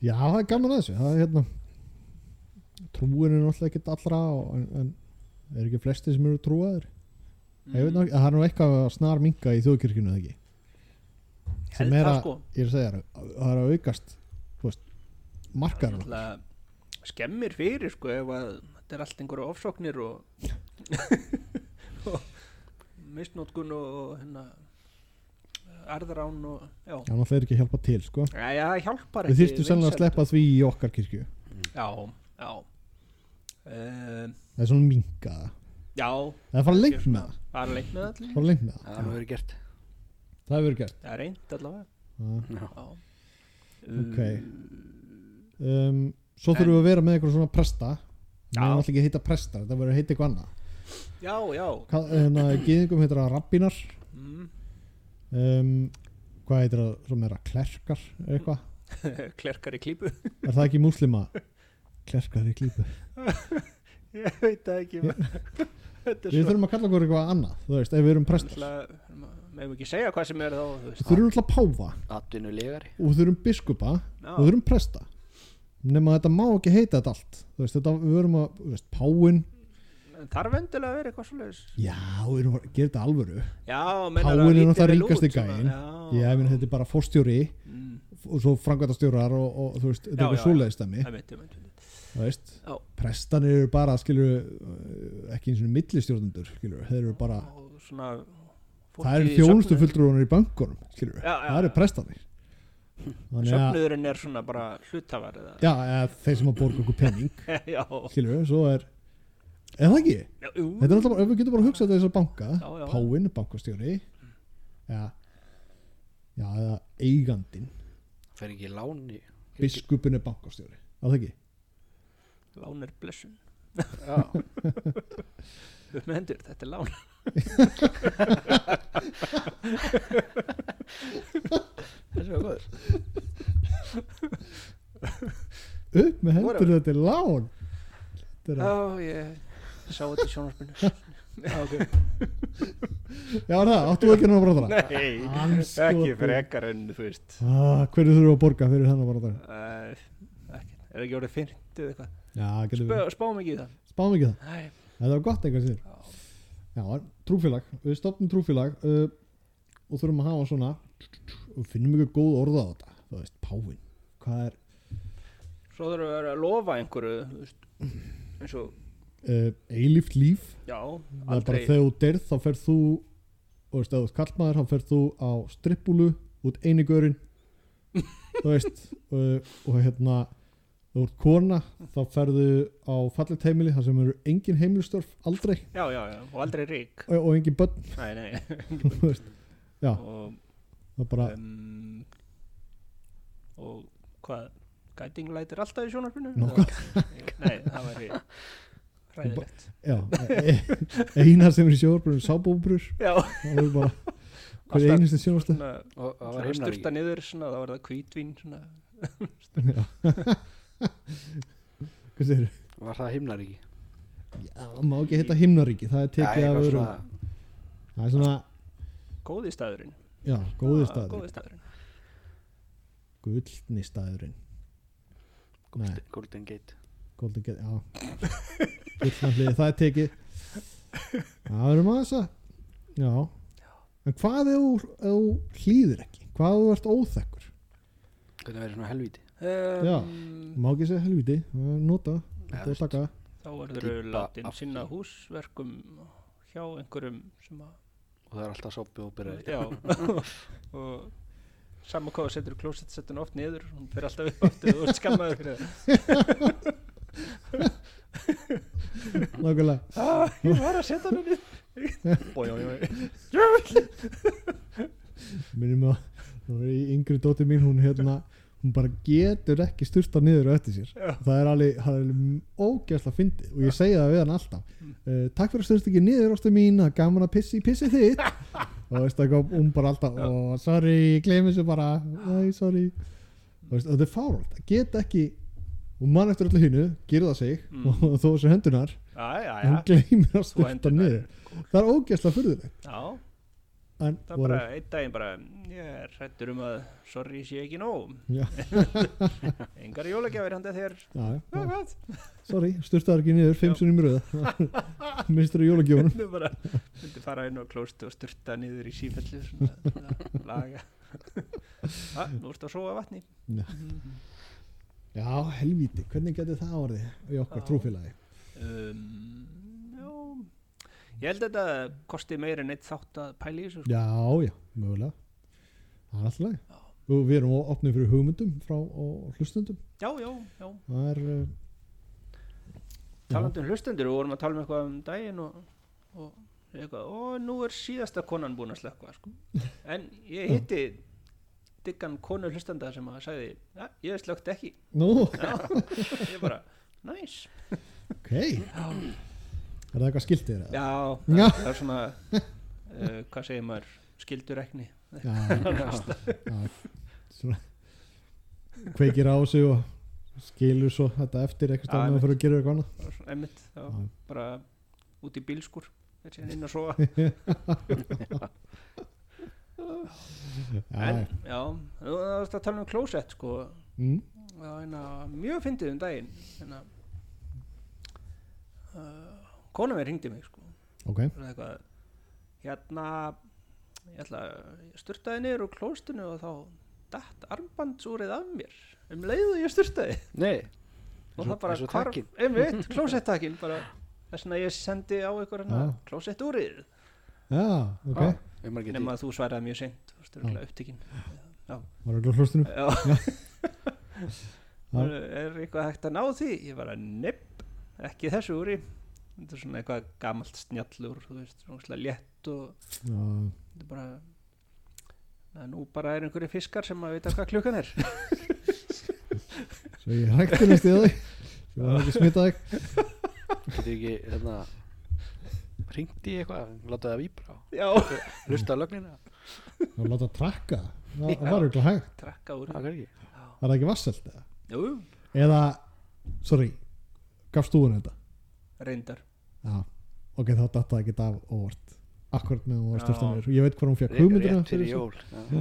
Speaker 1: já það er gaman að þessu það er hérna trúin er náttúrulega ekki allra og, en, en er ekki flesti sem eru trúaðir
Speaker 2: Mm.
Speaker 1: Ég veit nokk, það er nú eitthvað að snar minga í þjóðkirkjunu eða ekki sem er að,
Speaker 2: sko,
Speaker 1: ég er að segja þér, að það er að aukast þú veist, markar já,
Speaker 2: náttúrulega skemmir fyrir sko ef að þetta er allt einhverja ofsóknir
Speaker 1: [LAUGHS]
Speaker 2: og, og misnótkun og hérna arðrán og, já,
Speaker 1: það er ekki að hjálpa til sko.
Speaker 2: já, já það hjálpar
Speaker 1: við
Speaker 2: ekki
Speaker 1: þyrstum sennilega að
Speaker 2: vinsældum.
Speaker 1: sleppa því í okkar kirkju
Speaker 2: Já, já um,
Speaker 1: það er svona minga það.
Speaker 2: Já,
Speaker 1: það er fara lengt
Speaker 2: Ég-
Speaker 1: með það,
Speaker 2: bara lengt með allir
Speaker 1: fara lengt með það
Speaker 3: það hefur verið gert
Speaker 1: það hefur verið gert
Speaker 2: Það er reynd allavega
Speaker 1: Já.
Speaker 3: Já.
Speaker 2: Já.
Speaker 1: ok
Speaker 3: Mm,
Speaker 1: um, svo þurfum við að vera með eitthvað svona presta
Speaker 2: Já.
Speaker 1: það er alltaf ekki að heita prestar, það verður að heita eitthvað annað
Speaker 2: Já, já
Speaker 1: Hvað- hérna, gýðingum heitir það rabbinar
Speaker 2: mm. [LAUGHS]
Speaker 1: um, hvað heitir það, svo meira klerkar eitthvað
Speaker 2: Klerkar í klípu [LAUGHS]
Speaker 1: Er það ekki múslima? Klerkar í klípu
Speaker 2: Ég veit það ekki
Speaker 1: [LAUGHS] Ég-
Speaker 2: Þetta
Speaker 1: Við þurfum að kalla okkur eitthvað annað Þú veist, ef við erum prestar
Speaker 2: meðum ekki segja hvað sem er þá þú
Speaker 1: Við
Speaker 2: veist.
Speaker 1: þurfum alltaf páfa
Speaker 3: atvinnu legari
Speaker 1: og við þurfum biskupa
Speaker 2: Já.
Speaker 1: og við þurfum presta Nefn að þetta má ekki heita þetta allt Þú veist, þetta, við verum að, þú veist, páin
Speaker 2: En þarf endilega að vera eitthvað svoleiðis
Speaker 1: Já, við erum að gera þetta alvöru
Speaker 2: Já,
Speaker 1: Páfinn
Speaker 2: mennar
Speaker 1: er
Speaker 2: líti
Speaker 1: náttúrulega
Speaker 2: vel út,
Speaker 1: ríkasti
Speaker 2: svona,
Speaker 1: gæinn.
Speaker 2: Já, Mm,
Speaker 1: Ég meina þetta er bara fórstjóri og svo framkvæmtastjórar og, og þú veist, þetta
Speaker 2: Já,
Speaker 1: er
Speaker 2: já,
Speaker 1: eitthvað svoleiðist að mig
Speaker 2: það veit, ég veit
Speaker 1: þú veist,
Speaker 2: Já.
Speaker 1: prestan eru bara skilur ekki eins og millistjórnendur skilur, þeir eru bara,
Speaker 2: Og svona
Speaker 1: Ah. það
Speaker 2: fólkið
Speaker 1: eru
Speaker 2: í
Speaker 1: þjónustu um
Speaker 2: söfnuði-
Speaker 1: fulltrúunar í bankunum skilur,
Speaker 2: Já, já,
Speaker 1: það eru
Speaker 2: já.
Speaker 1: prestanir þannig að,
Speaker 2: Söfnuðurinn er svona bara hlutafar eða
Speaker 1: já, eða þeir sem að borga okkur penning,
Speaker 2: [LAUGHS] Já,
Speaker 1: skilur, svo er eða það ekki,
Speaker 2: já, jú
Speaker 1: þetta er alltaf bara ef við getum bara að hugsa þessar banka,
Speaker 2: Já, já.
Speaker 1: Páinn bankastjóri já já, eða eigandin
Speaker 3: fer ekki í lán í
Speaker 1: biskupin er bankastjóri, að það ekki
Speaker 2: Lán er blessun
Speaker 3: já,
Speaker 2: Upp með hendur, þetta er lán
Speaker 3: þessi var góður
Speaker 1: upp með hendur þetta er lán þetta er að
Speaker 2: Já, ég sá þetta í
Speaker 1: [LAUGHS]
Speaker 2: sjónarspinu
Speaker 3: já, ok
Speaker 1: Já, er það, áttu ekki hennar að borða það?
Speaker 2: Nei,
Speaker 1: Andskotinn.
Speaker 2: ekki frekar en þú veist
Speaker 1: Ah, hverju þurfum við að borga fyrir hennar að borða það?
Speaker 2: Uh, ekkert. er ekki orðið fyrnt eða eitthvað
Speaker 1: Já, getum við,
Speaker 2: Spá- spáum ekki í það
Speaker 1: spáum ekki það
Speaker 2: Nei.
Speaker 1: Þetta var gott eitthvað sér Já, trúfélag, við stopnum trúfélag uh, og þurfum að hafa svona og finnum ykkur góð orða á þetta þú veist, páfinn, hvað er
Speaker 2: svo þurfum við að vera að lofa einhverju þú veist, eins og,
Speaker 1: uh, eilíft líf
Speaker 2: já,
Speaker 1: það er bara
Speaker 2: aldrei
Speaker 1: þegar þú derð, þá ferð þú þú veist, ef þú ert kallmaður, þá ferð þú á strippúlu út einigörinn þú veist [LAUGHS] og, og hérna, þú ert kona þá ferðu á fallet heimili þar sem eru engin heimilistörf aldrei
Speaker 2: já, já, já, og aldrei rík
Speaker 1: og, og engin börn,
Speaker 2: nei, nei, [LAUGHS]
Speaker 1: [LAUGHS] þú veist já,
Speaker 2: og,
Speaker 1: það er bara
Speaker 2: um, og hvað gæting lætir alltaf í sjónarfinu
Speaker 1: Nákvæm.
Speaker 2: nei, það
Speaker 1: [LAUGHS]
Speaker 2: væri ræðilegt
Speaker 1: já, e, e, einar sem er í sjóðarbrunnum sábóbrur,
Speaker 2: já,
Speaker 1: það er bara hverju
Speaker 2: Alltaf
Speaker 1: einasti sjóðarstu
Speaker 2: svona,
Speaker 3: og [LAUGHS] það
Speaker 2: svona
Speaker 3: var
Speaker 2: sturta
Speaker 3: heimnaríki
Speaker 2: niður svona, þá var það kvítvín svona,
Speaker 1: hvað segir
Speaker 3: var það heimnaríki
Speaker 1: það má ekki heita himnaríki, það er tekið
Speaker 3: Já,
Speaker 1: af
Speaker 3: eitthvað
Speaker 1: öðrum
Speaker 3: svona-
Speaker 1: það er svona,
Speaker 2: góði staðurinn
Speaker 1: já, góði
Speaker 2: Ah,
Speaker 1: staður
Speaker 2: góði staðurinn
Speaker 1: gullni staðurinn Nei,
Speaker 3: Golden Gate
Speaker 1: Golden Gate, já Gullnaflið, það er tekið Það erum aðeins að Já En hvað ef þú- ef þú hlýðir ekki? Hvað ef þú ert óþekkur?
Speaker 3: hvernig verður svona helvíti
Speaker 2: um,
Speaker 1: Má ekki segja helviti, það er nota Þetta er taka
Speaker 2: þá verður
Speaker 3: Dýpa
Speaker 2: látin
Speaker 3: aftur.
Speaker 2: sinna húsverkum hjá einhverjum sem að
Speaker 3: og það er alltaf soppi og byrjaði
Speaker 2: já [LAUGHS] og saman hvað þú setur í klósett setur hann oft niður, hún fyrir alltaf upp aftur og skammaður fyrir það
Speaker 1: Nákvæmlega
Speaker 2: [LAUGHS] ah, ég var að setja hann [LAUGHS] niður bói, bói, bói
Speaker 1: Minnum að það var í yngri dóti mín Hún hérna, hún bara getur ekki styrta niður á eftir sér
Speaker 2: Já.
Speaker 1: Það er alveg, það er alveg ógæsla fyndið Og ég segja það við hann alltaf
Speaker 2: Mm.
Speaker 1: uh, Takk fyrir að styrst ekki niður ástu mín Það er gaman að pissi, pissi
Speaker 2: [LAUGHS]
Speaker 1: þitt Og veist það kom um bara alltaf Og sorry, ég gleymi þessu bara Æ, sorry Og veist, Þetta er fáralt, það get ekki Hún man eftir öllu hinu, gerir það sig
Speaker 2: Mm.
Speaker 1: Og [LAUGHS] þó þessu hendunar,
Speaker 2: já, já,
Speaker 1: hún gleymir að
Speaker 2: Þú
Speaker 1: styrta
Speaker 2: hendurnar.
Speaker 1: niður Það er ógæsla fyrðuleg
Speaker 2: já
Speaker 1: En,
Speaker 2: það er bara einn daginn bara ég er hrættur um að sorry sé ekki nóg
Speaker 1: Já.
Speaker 2: engar jólagjafir handa þér
Speaker 1: já, já, já.
Speaker 2: Ah, hvað?
Speaker 1: Sorry, sturtaðar ekki niður, fimm
Speaker 2: Já.
Speaker 1: sunnum röða
Speaker 2: [LAUGHS]
Speaker 1: Mistur í jólagjónum
Speaker 2: Þú bara myndi fara inn á klóstu og styrta niður í sífellu svona, svona, [LAUGHS] laga ah, Nú ertu að sóa vatni
Speaker 1: Já, helvíti, hvernig getur það orðið í okkar
Speaker 2: Já.
Speaker 1: trúfélagi?
Speaker 2: um, já, Ég held að þetta kosti meir en eitt þátt að pæla í þessu sko.
Speaker 1: Já, já, mögulega Það er alltaf leið Og við erum ó- opnið fyrir hugmyndum frá og hlustundum
Speaker 2: Já, já, já,
Speaker 1: Það er eh, uh,
Speaker 2: talandi um hlustendur og vorum að tala um eitthvað um daginn og, og eitthvað, og nú er síðasta konan búin að slökka [LAUGHS] sko. en ég hitti diggan konu hlustenda sem að sagði, ja, ég slökkt ekki
Speaker 1: Nú,
Speaker 2: já, ég bara, [LAUGHS] næs
Speaker 1: ok Er það eitthvað skiltið þér?
Speaker 2: Já,
Speaker 1: Já.
Speaker 2: það, það er svona uh, hvað segir maður, skildur ekni
Speaker 1: Já, já Svona Kveikir á sig og skilur svo þetta eftir
Speaker 2: Já,
Speaker 1: eitthvað stafna
Speaker 2: einmitt.
Speaker 1: fyrir að gera eitthvað annað
Speaker 2: einmitt, þá
Speaker 1: Já.
Speaker 2: bara út í bílskur þessi inn að sofa
Speaker 1: Já,
Speaker 2: en, já, þú varst að tala um klósett sko,
Speaker 1: mm,
Speaker 2: það var hérna mjög fyndið um daginn hérna uh, kona mér hringdi mig sko
Speaker 1: ok,
Speaker 2: Svona eitthvað, hérna ég ætla ég sturtaði niður úr klóstinu og þá datt armbandsúrið af mér um leiðu ég sturtaði
Speaker 3: Nei,
Speaker 2: og
Speaker 3: Eins
Speaker 2: það
Speaker 3: og-
Speaker 2: bara
Speaker 3: eins og
Speaker 2: hvarf,
Speaker 3: takkinn.
Speaker 2: einmitt, klósettakkin bara þess vegna ég sendi á ykkur hérna hana
Speaker 1: Já.
Speaker 2: klósettúrið
Speaker 1: já, ok
Speaker 3: Já. við maður
Speaker 2: nema
Speaker 3: getið
Speaker 2: að þú svaraði mjög seint þú varst örugglega upptekinn
Speaker 1: var ekki á hlustinu
Speaker 2: Já.
Speaker 1: Já.
Speaker 2: er eitthvað hægt að ná því ég bara nepp, ekki í þessu úri þetta er svona eitthvað gamalt snjallur þú veist, svona létt og
Speaker 1: já,
Speaker 2: þetta er bara að nú bara er einhverju fiskar sem að vita hvað klukkan er
Speaker 1: svo ég hætti næst í þig svo var ekki smitað þig
Speaker 3: Getur ekki, hérna Ringdi ég eitthvað, láta það víbra
Speaker 2: já,
Speaker 3: Hlusta á lögnina,
Speaker 1: og láta trakka það
Speaker 2: Já.
Speaker 1: það var ekki hægt,
Speaker 2: trakka úr
Speaker 3: það er ekki
Speaker 1: var það ekki vasselt eða?
Speaker 2: jú,
Speaker 1: eða, sorry gafst þú henni þetta
Speaker 2: reyndar
Speaker 1: já, ok, þá datt það ekki af óvart akkurat með hún var
Speaker 2: Já.
Speaker 1: störtanir ég veit hvað hún fekk
Speaker 3: Ré-
Speaker 1: hugmyndina
Speaker 3: Rétt fyrir jól já.
Speaker 1: já,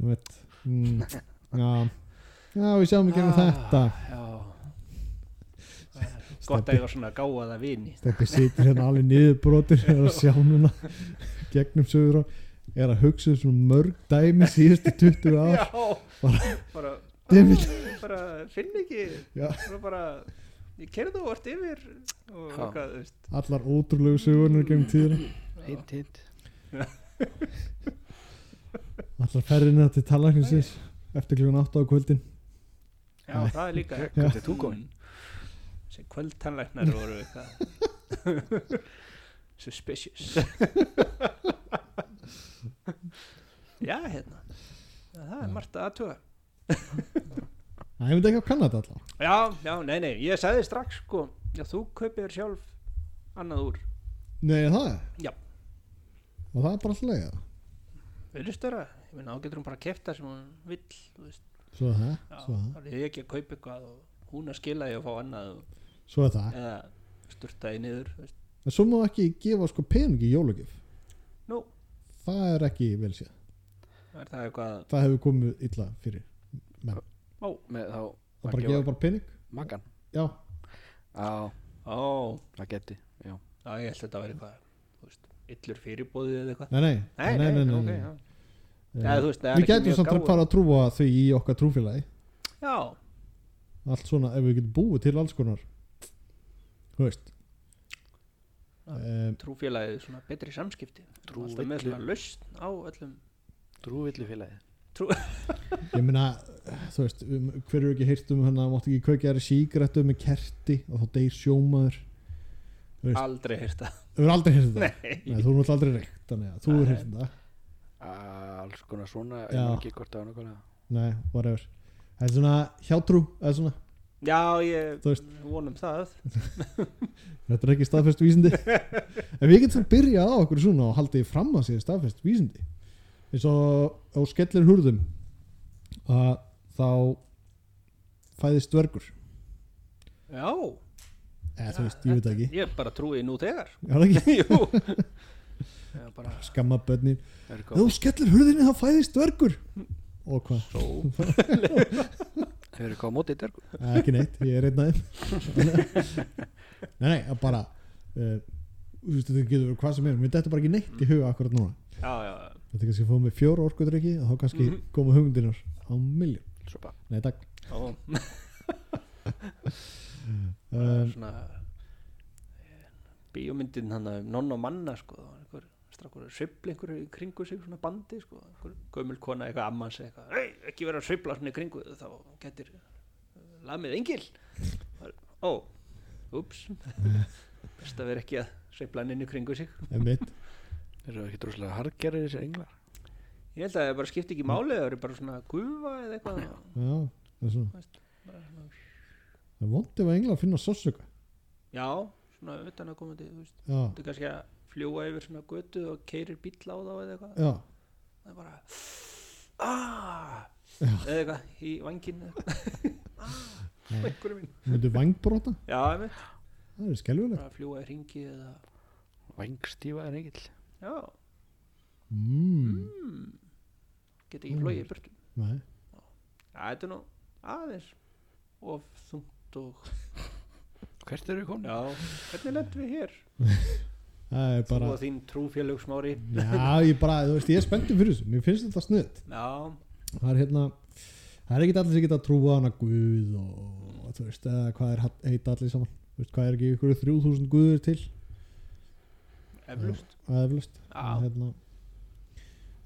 Speaker 1: ég veit mm, já, já, við sjáum ekki um
Speaker 3: Ah,
Speaker 1: þetta
Speaker 3: Já,
Speaker 2: gott að ég var svona gáðaða vini
Speaker 1: Steppi situr hérna alveg niðurbrotir er að sjá núna gegnum sögur á er að hugsa um svona mörg dæmi síðustu 20 ár
Speaker 2: já, bara, bara,
Speaker 1: Dimmit.
Speaker 2: bara finn ekki
Speaker 1: Já.
Speaker 2: bara, bara ég kerði og vart yfir og
Speaker 3: Já.
Speaker 2: hvað, þú veist
Speaker 1: allar ótrúlegu sögurnir gegnum tíðina
Speaker 3: hint, hint
Speaker 1: allar ferðina til talakinsins eftir klukkan 8 á kvöldin
Speaker 2: já, það er líka
Speaker 3: Hvert er þú komin?
Speaker 2: sem kvöldtannlæknar voru eitthvað [LAUGHS] suspicious já hérna Já, það er margt að aðtuga
Speaker 1: það hefði ekki á Kanada allar
Speaker 2: já, já, nei, nei, ég sagði strax sko, já, þú kaupir sjálf annað úr,
Speaker 1: nei er það er
Speaker 2: Já.
Speaker 1: og það er bara alltaf leiða
Speaker 2: verðist vera ég meina, þá getur hún bara að kefta sem hún vill þú veist,
Speaker 1: svo er það,
Speaker 2: já,
Speaker 1: svo er það,
Speaker 2: þá er ég ekki að kaupa eitthvað og hún að skila ég og fá annað og,
Speaker 1: svo er það.
Speaker 2: eða sturta í niður, þú veist,
Speaker 1: en svo má ekki gefa sko peningi í jólugjöf
Speaker 2: nú,
Speaker 1: það er ekki vel séð
Speaker 2: þá er það eitthvað
Speaker 1: það hefur komið illa fyrir
Speaker 3: Með þá
Speaker 1: það
Speaker 3: Að
Speaker 1: bara
Speaker 3: gefa-
Speaker 1: gefa bara pening
Speaker 3: makan
Speaker 1: já,
Speaker 3: Já,
Speaker 2: ó,
Speaker 3: það geti Já,
Speaker 2: já, ég held að þetta væri eitthvað þú veist, illur fyrirbóðið eða eitthvað
Speaker 1: nei, nei,
Speaker 2: nei, nei, ok, já
Speaker 1: Eh,
Speaker 2: Já, þú veist, það er
Speaker 1: Við
Speaker 2: ekki
Speaker 1: getum
Speaker 2: mjög
Speaker 1: samt að
Speaker 2: gáfulegt.
Speaker 1: fara að trúa því í okkar trúfélagi
Speaker 2: já,
Speaker 1: allt svona ef við getum búið til alls konar þú veist
Speaker 2: Já.
Speaker 1: um,
Speaker 2: trúfélagið svona betri samskipti
Speaker 3: Trú-
Speaker 2: alltaf með
Speaker 3: villu.
Speaker 2: svona lausn á öllum
Speaker 3: trúvillufélagi
Speaker 1: ég meina þú veist, um, hver eru ekki heyrt um hann að mátt ekki kveikja þær sígrættu með kerti og þá deyr sjómaður Veist.
Speaker 2: aldrei heyrt það
Speaker 1: við erum aldrei heyrt þetta
Speaker 2: nei,
Speaker 1: Nei, þú erum alltaf aldrei reykt þannig að þú
Speaker 2: Nei.
Speaker 1: erum heyrt þetta
Speaker 3: Alls konar svona, ég
Speaker 1: Já.
Speaker 3: man ekki hvort það var nákvæmlega
Speaker 1: nei, whatever það er svona hjátrú eða svona
Speaker 2: [LAUGHS] já, ég
Speaker 1: Þú veist.
Speaker 2: vonum það
Speaker 1: Þetta er ekki staðfest vísindi En við getum samt byrjað á okkur svona og haldið fram að sér staðfest vísindi eins og á skellir hurðum að þá fæðist dvergur
Speaker 2: já,
Speaker 1: eða þú veist, ég veit það ekki,
Speaker 2: ég bara trúi nú
Speaker 1: [LAUGHS]
Speaker 2: þegar
Speaker 1: ég var ekki
Speaker 2: jú Já, bara,
Speaker 1: skamma bönnin,
Speaker 3: Það er
Speaker 1: ef
Speaker 3: góð,
Speaker 1: þú skellir hurðinni þá fæðist dvergur og hvað,
Speaker 3: það er góð mótið dörgu
Speaker 1: Eða, Eh, ekki neitt, ég er einn aðeim Nei, nei, að bara uh, þú veist, þetta getur verið hvað sem er mér þetta bara ekki neitt í huga akkurat núna
Speaker 2: já, já,
Speaker 1: Þetta er kannski að fá mig fjóra orkudrykki og þá kannski mm -hmm. koma hugmyndinar á miljón.
Speaker 3: Sopa,
Speaker 1: Nei, takk.
Speaker 2: já
Speaker 1: Um,
Speaker 2: svona eh, bíómyndin hann um nonn og manna sko, það var einhver strakkur að sveifla einhverju í kringu sig svona bandi sko, einhver gömul kona eitthvað amman segi eitthvað, hei, ekki vera að sveifla svona í kringu þig, þá getur lamið engil Það er, ó, ups best að vera ekki að sveifla hann inn í kringu sig
Speaker 1: en mitt,
Speaker 3: þeir eru ekki droslega hargerir þessir englar
Speaker 2: ég held að það bara skipti ekki máli það eru bara svona gufa eða eitthvað
Speaker 1: já, það er svona. Það er vondið að engla að finna sásöka.
Speaker 2: já, svona utan að koma til þú veist,
Speaker 1: Já,
Speaker 2: þú kannski að fljúa yfir svona götu og keirir bíll á þá eða eitthvað
Speaker 1: já,
Speaker 2: það er bara aaaah eða eitthvað í vangin
Speaker 1: Já.
Speaker 2: einhverju mín
Speaker 1: myndu vangbróta,
Speaker 2: Ah. já, ég veit,
Speaker 1: það er skelvilegt.
Speaker 2: bara að fljúa í ringi eða
Speaker 3: Vangstífa er engill
Speaker 2: já,
Speaker 1: Mm,
Speaker 2: hmm. get ekki flogið í burtu
Speaker 1: nei,
Speaker 2: já, þetta er nú aðeins of þungt og
Speaker 3: hvert eru við komin?
Speaker 2: Já, hvernig lendum við hér?
Speaker 1: það er bara
Speaker 2: Þú og þín trúfélög smári
Speaker 1: já, ég bara, þú veist, ég er spenntur fyrir þessu mér finnst þetta sniðt
Speaker 2: Já,
Speaker 1: það er hérna, það er ekkit allir sem geta að trúa á hana guð og þú veist, eða hvað er hatt- heita allir saman þú veist, hvað er ekki ykkur 3000 guður til
Speaker 2: eflust
Speaker 1: aðeflust
Speaker 2: Já.
Speaker 1: hérna,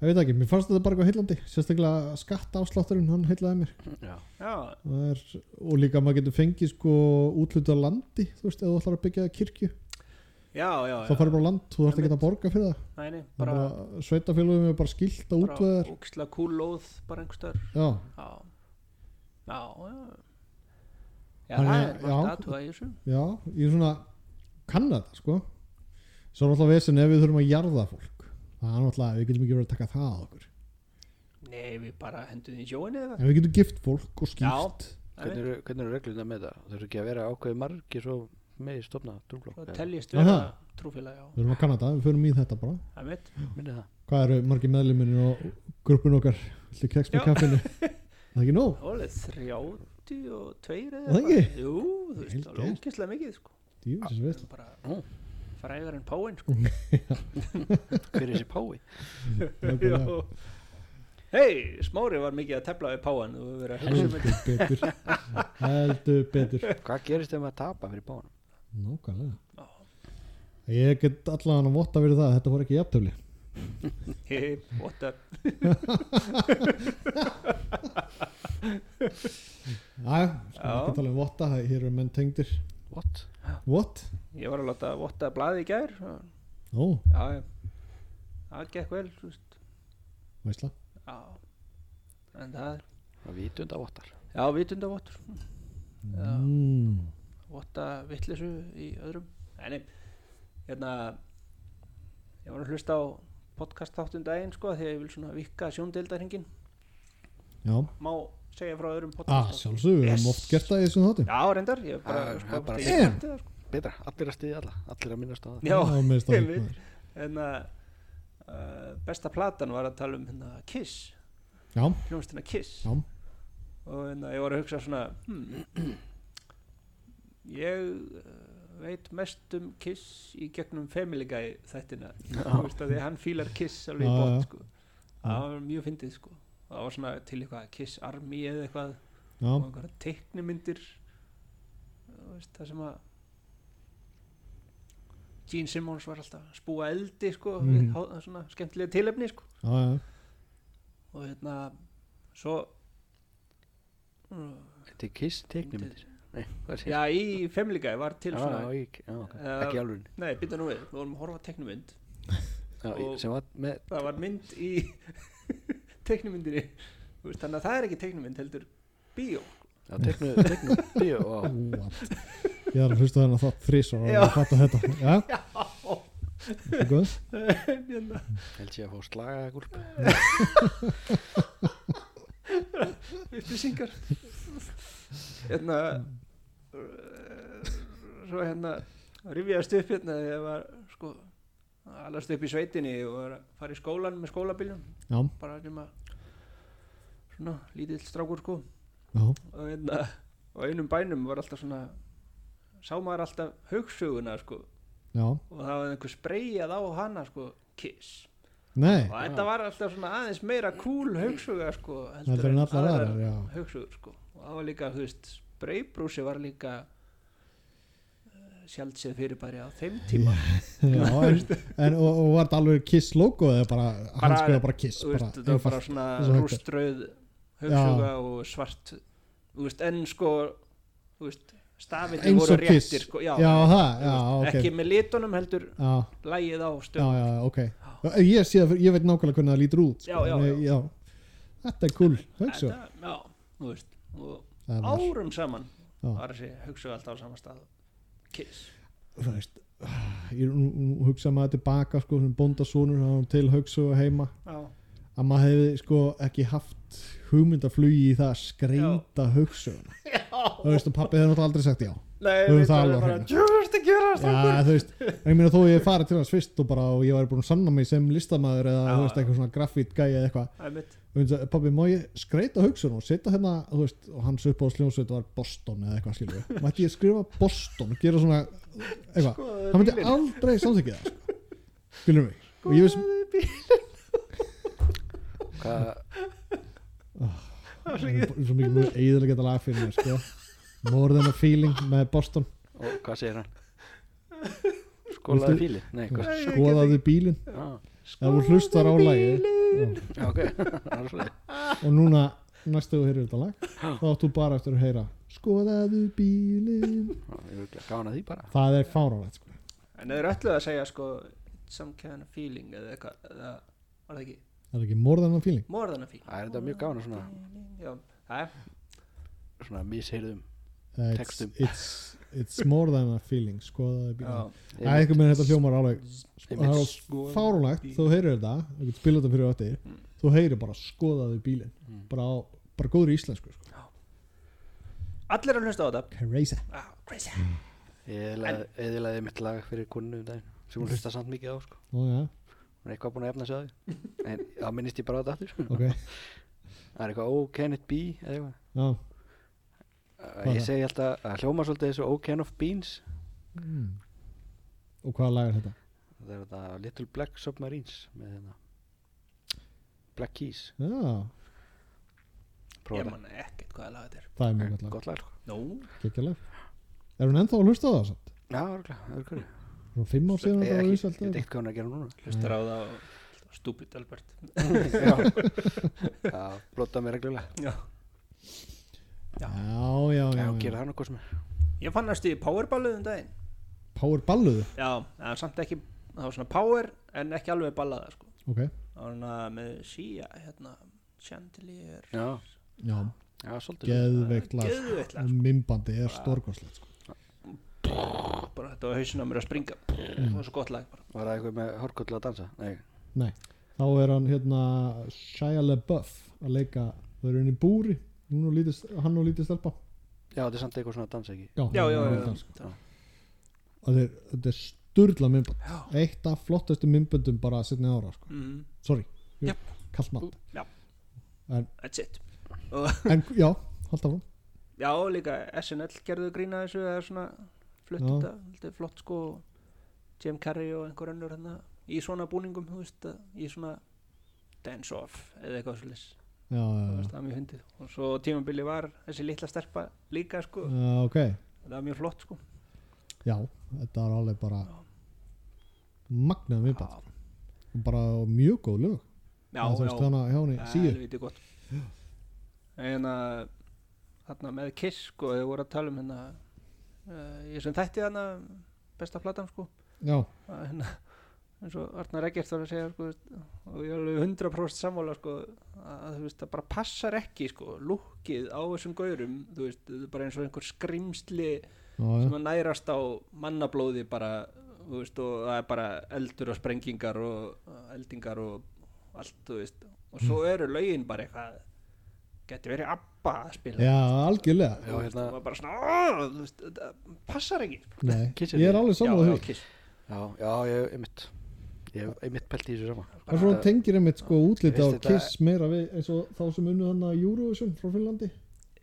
Speaker 1: ég veit ekki, mér fannst þetta bara eitthvað heillandi sérstaklega skatt afslátturinn, hann heillaði mér
Speaker 3: Já,
Speaker 2: Já,
Speaker 1: Það er, og líka maður getur fengið sko útlutu á landi, þú veist, ef þú ætlar að byggja kirkju,
Speaker 2: já, já,
Speaker 1: þá farið bara á land þú þarft ekki
Speaker 2: Einmitt.
Speaker 1: að borga fyrir það,
Speaker 2: Nei, nei,
Speaker 1: það
Speaker 2: bara,
Speaker 1: er bara sveitafélagum er bara skilt að útvega
Speaker 2: bara
Speaker 1: þér
Speaker 2: óksla kúlóð bara einhverstaðar
Speaker 1: já,
Speaker 2: Já, já, já Já,
Speaker 1: Þannig
Speaker 2: það
Speaker 1: að-
Speaker 2: er margt
Speaker 1: já.
Speaker 2: aðtuga í þessu
Speaker 1: já, ég er svona kann þetta, sko svo er náttúrulega vesen ef við þurfum að jarða fólk það er náttúrulega, við getum ekki verið að taka það að okkur
Speaker 2: Nei, við bara hendum því í sjóinni eða
Speaker 1: en við getum gift fólk og skipt
Speaker 3: hvernig eru, hvernig eru regluna með það? Þurfum ekki að vera ákveði margir svo með í stofna trúflokk?
Speaker 2: Það teljist
Speaker 1: Já,
Speaker 2: vera
Speaker 1: það.
Speaker 2: trúfélag, já
Speaker 1: við þurfum að kann þetta, við förum í þetta bara
Speaker 2: Það mitt
Speaker 3: Minni það?
Speaker 1: hvað eru margir meðluminir og grúppin okkar viltu keks með
Speaker 2: Já. [LAUGHS]
Speaker 1: kaffinu það er ekki nóg,
Speaker 2: Það var alveg 32 eða
Speaker 1: Það
Speaker 2: eitthvað.
Speaker 1: ekki?
Speaker 2: Jú, þú veist,
Speaker 1: Vel
Speaker 2: það var
Speaker 1: gert.
Speaker 2: ógeðslega mikið sko.
Speaker 1: djúfis veist
Speaker 2: bara
Speaker 3: Ó.
Speaker 2: fræðar en páin sko.
Speaker 3: Hver er þessi pái?
Speaker 1: nákvæmlega.
Speaker 2: Já. Hei, Smári var mikið að tefla við páan og verið að hugsa um þetta
Speaker 1: heldur betur heldur betur
Speaker 3: Hvað gerist ef maður tapa fyrir páanum?
Speaker 2: Já.
Speaker 1: nákvæmlega ég get allan að votta fyrir það að þetta voru ekki jafntöfli
Speaker 2: Hei, what up
Speaker 1: aðja, sko
Speaker 2: Já.
Speaker 1: ekki tala um votta það- hér eru menn tengdir
Speaker 3: What?
Speaker 1: what?
Speaker 2: Ég var að láta votta blaði í gær og-
Speaker 1: ó,
Speaker 2: Já, já. það gekk vel þú veist.
Speaker 1: veistla
Speaker 2: Já En það er,
Speaker 3: Það vitund að vottar.
Speaker 2: já, vitundavottur Já.
Speaker 1: mm.
Speaker 2: votta vittlisu í öðrum en nei, hérna ég var að hlusta á podcast þáttum daginn sko því að ég vil svona vikka sjóndeildarhingin
Speaker 1: já,
Speaker 2: má segja frá öðrum
Speaker 1: að
Speaker 2: podcast
Speaker 1: sjálfsögur Ah, við
Speaker 2: Yes.
Speaker 1: höfum oft gert það í þessum þáttum
Speaker 2: já reyndar ég er bara,
Speaker 3: Ah,
Speaker 2: sko,
Speaker 3: það er bara
Speaker 2: ég
Speaker 1: fínt.
Speaker 2: mætti það, sko.
Speaker 3: Betra, allir að stiðja alla, allir að minnast á það.
Speaker 2: já,
Speaker 1: það meðist
Speaker 2: ég
Speaker 1: að
Speaker 2: veit. en að Hérna, uh, besta platan var að tala um hérna Kiss
Speaker 1: já,
Speaker 2: hljómsdina Kiss
Speaker 1: Já.
Speaker 2: og hérna ég var að hugsa svona hmm, ég uh, veit mest um Kiss í gegnum Family Guy þættina Þú veist, af því að hann fílar Kiss alveg í
Speaker 1: Já, já.
Speaker 2: bótt sko. það var mjög fyndið sko. það var svona til eitthvað Kiss Army eða eitthvað
Speaker 1: já,
Speaker 2: og einhverja teiknimyndir þú veist, það sem að Gene Simmons var alltaf að spúa eldi sko, mm. við,
Speaker 1: Mhm.
Speaker 2: há- svona skemmtilega tilefni sko
Speaker 1: já, já,
Speaker 2: og hérna svo
Speaker 3: Þetta er kiss teiknumyndir. Nei, hvað er þetta?
Speaker 2: já í Family Guy var til svona
Speaker 3: Já, ég, já, ok.
Speaker 2: Eh,
Speaker 3: ekki alveg.
Speaker 2: nei býta nú við, við vorum að horfa á teknumynd
Speaker 3: Já,
Speaker 2: og-
Speaker 3: ég- sem var með,
Speaker 2: það var mynd í [LAUGHS] teknumyndinni Þú veist, þannig að það er ekki teknumynd heldur bíó
Speaker 3: já, teiknu, teiknu, bíó og
Speaker 1: what ég þarf að hlusta þennan þátt þrísar
Speaker 2: Já.
Speaker 1: og fatta þetta já, það er góð
Speaker 2: Hérna,
Speaker 3: held ég að fá slaga gulp. [LAUGHS]
Speaker 2: upplýsingar hérna
Speaker 3: Mm.
Speaker 2: uh, svo hérna rifjaðast upp hérna þegar ég var sko að alast upp í sveitinni og var að fara í skólan með skólabiljum
Speaker 1: já,
Speaker 2: bara nema svona lítill strákur sko
Speaker 1: já,
Speaker 2: og hérna á einum bænum var alltaf svona sá maður alltaf haugsuguna sko
Speaker 1: já,
Speaker 2: og það var einhver spreyjað á hana sko kiss
Speaker 1: nei
Speaker 2: og þetta var alltaf svona aðeins meira cool haugsuga sko
Speaker 1: heldur en allar aðrar, já
Speaker 2: haugsugur sko og það var líka þú veist spreybrúsi var líka sjálfsið fyrirbæri á þeim tíma
Speaker 1: Já,
Speaker 2: [LAUGHS]
Speaker 1: en, en og, og var þetta alveg kiss logo eða bara, hann skrifa bara kiss
Speaker 2: þú
Speaker 1: bara,
Speaker 2: veist, þetta var bara
Speaker 1: einfalt.
Speaker 2: svona
Speaker 1: eins og hægt er.
Speaker 2: rúströð hugsuga og svart þú veist, en sko þú veist, stafinni
Speaker 1: Eins
Speaker 2: voru
Speaker 1: og Kiss.
Speaker 2: réttir sko, já, þú
Speaker 1: já, það, já,
Speaker 2: veist,
Speaker 1: ok
Speaker 2: ekki með litunum heldur
Speaker 1: já,
Speaker 2: lægið á
Speaker 1: já,
Speaker 2: stöð
Speaker 1: já, ok ég, sé, það- ég veit nákvæmlega hvernig það lítur út sko,
Speaker 2: Já, já,
Speaker 1: en ég- já. þetta er cool hugsa,
Speaker 2: Þetta- já, þú veist og
Speaker 1: það var,
Speaker 2: árum saman
Speaker 1: Já.
Speaker 2: var þessi hugsuga alltaf á sama stað kiss
Speaker 1: þú veist ah, ég nú- nú hugsa maður tilbaka sko, sem bóndasonur, það var til hugsa heima
Speaker 2: já,
Speaker 1: að maður hefði sko ekki haft
Speaker 2: [LAUGHS]
Speaker 1: hugmyndaflugi í það að skreita hugsa þú veist, og pappi hefði náttúrulega aldrei sagt já
Speaker 2: Nei,
Speaker 1: Höfum
Speaker 2: við
Speaker 1: það
Speaker 2: bara
Speaker 1: alveg
Speaker 2: bara
Speaker 1: á hreinu.
Speaker 2: Djúvist að gera
Speaker 1: Já, þú veist, en ég meina þó ég farið til hans fyrst og bara og ég væri búin að sanna mig sem listamaður eða,
Speaker 2: Já,
Speaker 1: þú veist,
Speaker 2: já.
Speaker 1: eitthvað svona grafítgæja eða eitthvað
Speaker 2: Það er mitt
Speaker 1: og ég sagði, pabbi, má ég skreita hugsun og setja hérna, þú veist, og hans upp á sljónsveit var Boston eða eitthvað, skilur við mætti ég skrifa Boston og gera svona eitthvað,
Speaker 2: Skoðaðu
Speaker 1: hann myndi
Speaker 2: bílinn.
Speaker 1: aldrei samþykja það, sko. skilur mig og ég veist,
Speaker 3: Hvað,
Speaker 1: það er svo mikið mjög eiðilega geta lag fyrir mér, sko More than a feeling með Boston
Speaker 3: og hvað segir hann? Skólaði
Speaker 1: Viltu-
Speaker 3: fíli? Nei, hvað?
Speaker 2: Nei, ég get
Speaker 1: skoðaðu bílinn,
Speaker 3: Ah,
Speaker 1: ef þú hlustar á lagið Já.
Speaker 3: Já, ok, [LAUGHS] það er svolítið.
Speaker 1: og núna næstu þú heyrir þetta lag þá áttu bara eftir að heyra skoðaðu bílinn
Speaker 3: Já, Ég vil gána því bara.
Speaker 1: það er fáránlegt sko.
Speaker 2: En þeir öllu að segja sko Some kind of feeling eða eitthvað eða Var það ekki?
Speaker 1: það er ekki morðan af feeling
Speaker 2: More than a feeling
Speaker 3: Það er þetta mjög gána svona,
Speaker 2: Já, það er
Speaker 3: svona misheyrðum.
Speaker 1: Eh, it's,
Speaker 3: Textum.
Speaker 1: it's, it's more than a feeling skoðaðu bílinn
Speaker 2: Já,
Speaker 1: það er eitthvað með þetta hljómar alveg sko,
Speaker 3: Einmitt.
Speaker 1: það er fáránlegt þú heyrir þetta þú getur spilað þetta fyrir ötti þú heyrir bara skoðaðu bílinn bara, á, bara góður í íslensku sko.
Speaker 2: Allir að hlusta á þetta
Speaker 1: crazy
Speaker 2: ah, Crazy
Speaker 3: Ég eðilaði mitt lag fyrir kunnu um daginn, sem hún hlusta samt mikið á, sko.
Speaker 1: Nú, ja,
Speaker 3: Hún er eitthvað búin að efna sig á því. En það minnist ég bara á þetta aftur.
Speaker 1: okay.
Speaker 3: Það er eitthvað, oh, can it be, eða eitthvað.
Speaker 1: Já. Hvað
Speaker 3: Ég
Speaker 1: það?
Speaker 3: segi alltaf að hljóma svolítið þessu oh, can of beans.
Speaker 1: Mm. og hvaða lag er þetta?
Speaker 3: Það er þetta Little Black Submarines með hérna. Black Keys.
Speaker 1: Já,
Speaker 2: Ég
Speaker 3: Prófa
Speaker 2: man ekkert hvaða lag þetta er
Speaker 1: það er mjög gott
Speaker 3: þetta.
Speaker 1: lag
Speaker 3: Gott lag, sko.
Speaker 2: Nó
Speaker 1: Kekjaleg Er hún ennþá að hlusta á það samt?
Speaker 3: Já, örgulega, örgulega.
Speaker 1: Er hún fimm ár síðan
Speaker 3: Ég
Speaker 1: þetta var
Speaker 3: veit
Speaker 1: vinsælt eða
Speaker 3: ekki hvað hún er að gera núna.
Speaker 2: Hlustar á það og Stupid Albert
Speaker 3: [LAUGHS] já, já blóta mér reglulega
Speaker 2: Já
Speaker 1: eitthvað? Já, já,
Speaker 3: já,
Speaker 1: já,
Speaker 3: gera
Speaker 1: já.
Speaker 3: það nokkuð sem er
Speaker 2: Ég fann næstu í Powerballuð um daginn
Speaker 1: Power balluðu
Speaker 2: Já, það var samt ekki Það var svona power en ekki alveg ballaða sko
Speaker 1: Ok,
Speaker 2: Það var svona með síja hérna Chandelier
Speaker 3: já,
Speaker 1: já,
Speaker 3: já, svolítið
Speaker 1: geðveikt lag sko.
Speaker 2: Geðveitt lag
Speaker 1: Og mimbandi er stórkoslegt sko.
Speaker 2: sko, bara þetta var hausinn á mér að springa
Speaker 1: Mm.
Speaker 2: það var svo gott lag bara
Speaker 3: var það eitthvað með hórkullu að dansa nei,
Speaker 1: Nei, þá er hann hérna Shia LaBeouf að leika Þau eru henni í búri Hún og lítið, hann og lítið stelpa
Speaker 3: já, þetta er samt eitthvað svona að dansa ekki
Speaker 1: Já,
Speaker 2: já, já,
Speaker 1: hann
Speaker 2: já,
Speaker 1: er
Speaker 2: já,
Speaker 1: dansk.
Speaker 2: já.
Speaker 1: Og þeir- Þetta er sturla mimband
Speaker 2: Já.
Speaker 1: Eitt af flottestu mimböndum bara að setna ára sko.
Speaker 2: Mm,
Speaker 1: Sorry,
Speaker 2: Jep.
Speaker 1: kallt mat
Speaker 2: that's it og
Speaker 1: En já, halda frá
Speaker 2: já líka SNL gerðu grína þessu eða svona flutt
Speaker 1: Já.
Speaker 2: þetta þetta flott sko Jim Carrey og einhver önnur hérna í svona búningum þú veist að í svona dance off eða eitthvað svolítið
Speaker 1: Já, já,
Speaker 2: það
Speaker 1: já,
Speaker 2: var mjög hundið og svo tímabili var þessi litla stelpa líka sko
Speaker 1: já, ok
Speaker 2: það var mjög flott sko
Speaker 1: Já, þetta er alveg bara
Speaker 2: Já.
Speaker 1: magnað
Speaker 2: já
Speaker 1: viðbætt bara mjög góð lög
Speaker 2: já,
Speaker 1: þú
Speaker 2: já.
Speaker 1: veist þannig hjá henni síu
Speaker 2: Helviti gott En að Þarna með Kiss sko Þau voru að tala um hérna uh, Ég sem þætti þarna Besta platan sko
Speaker 1: já,
Speaker 2: að hérna eins og Arnar Eggert var að segja sko, þú veist, og ég er alveg 100% sammála sko, að þú veist, það bara passar ekki sko, lúkið á þessum gaurum þú veist, þetta er bara eins og einhver skrimsli
Speaker 1: já, já,
Speaker 2: sem að nærast á mannablóði bara, þú veist, og það er bara eldur og sprengingar og uh, eldingar og allt, þú veist og
Speaker 1: Mm.
Speaker 2: svo eru lögin bara eitthvað getur verið abba að spila
Speaker 1: já algjörlega
Speaker 3: já, hérna,
Speaker 2: og bara svona, "Ah, þú veist, þetta passar ekki
Speaker 3: [LAUGHS]
Speaker 1: Nei,
Speaker 3: Kissið
Speaker 1: ég
Speaker 3: þig.
Speaker 1: er alveg
Speaker 2: Já,
Speaker 1: saman
Speaker 2: já,
Speaker 1: því
Speaker 2: kiss.
Speaker 3: já, já, ég einmitt ég hef einmitt pælt í þessu sama
Speaker 1: og svo
Speaker 3: Þetta-
Speaker 1: tengir einmitt sko útliti á
Speaker 3: Veist þetta-
Speaker 1: Kiss meira við eins og þá sem unnu hann að Eurovision frá Finnlandi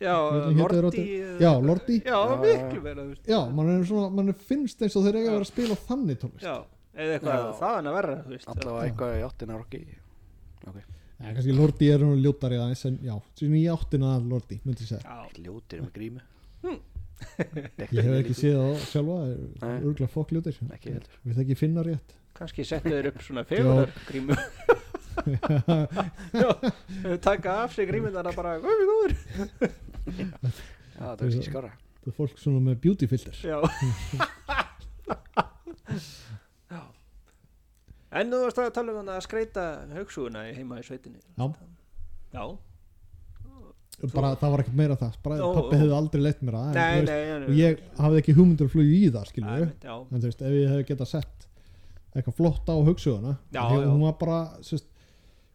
Speaker 2: já
Speaker 1: Hvernig hétu þeir
Speaker 2: Lordi
Speaker 1: aftur?
Speaker 2: eða-
Speaker 1: Já, Lordi.
Speaker 2: já,
Speaker 3: Já,
Speaker 2: miklu verið, þú veist
Speaker 1: Já, mann er svona, mann er finnst eins og þeir eiga að vera að spila þannig tónlist
Speaker 2: Já, eða eitthvað
Speaker 3: Já.
Speaker 2: það en að verra þú veist.
Speaker 3: allavega eitthvað í áttina rocki ok,
Speaker 1: Já, kannski Lordi er hann ljótari aðeins en já, sem ég áttina að Lordi, myndi ég segja
Speaker 2: Já,
Speaker 3: ljótir með grímu
Speaker 1: Ég hef ekki séð það sjálfa,
Speaker 3: Nei.
Speaker 1: er örgulega fokk ljótir
Speaker 3: Ekki heldur.
Speaker 1: Við þekki finna rétt
Speaker 2: kannski settu þeir upp svona fegurðar
Speaker 1: [LAUGHS]
Speaker 2: grímu Já, taka af sig grímunar að bara, góður, góður
Speaker 3: já, það er ekki skara
Speaker 1: Það er fólk svona með beauty filter
Speaker 2: Já [LAUGHS] Já En þú varst að tala um hann að skreita haugsúuna í heima í sveitinni
Speaker 1: Já,
Speaker 2: Já,
Speaker 1: bara, það var ekkert meira það bara,
Speaker 2: Ó,
Speaker 1: pappi
Speaker 2: ó.
Speaker 1: hefði aldrei leitt mér að
Speaker 2: nei,
Speaker 1: en, þú
Speaker 2: nei, nei, nei
Speaker 1: og ég hafði ekki hugmyndur að flugja í það skilur
Speaker 2: Nei,
Speaker 1: við,
Speaker 2: einmitt, Já,
Speaker 1: en þú veist, ef ég hefði getað sett eitthvað flott á hugsuðuna
Speaker 2: Já,
Speaker 1: því að
Speaker 2: já.
Speaker 1: hún var bara, þú veist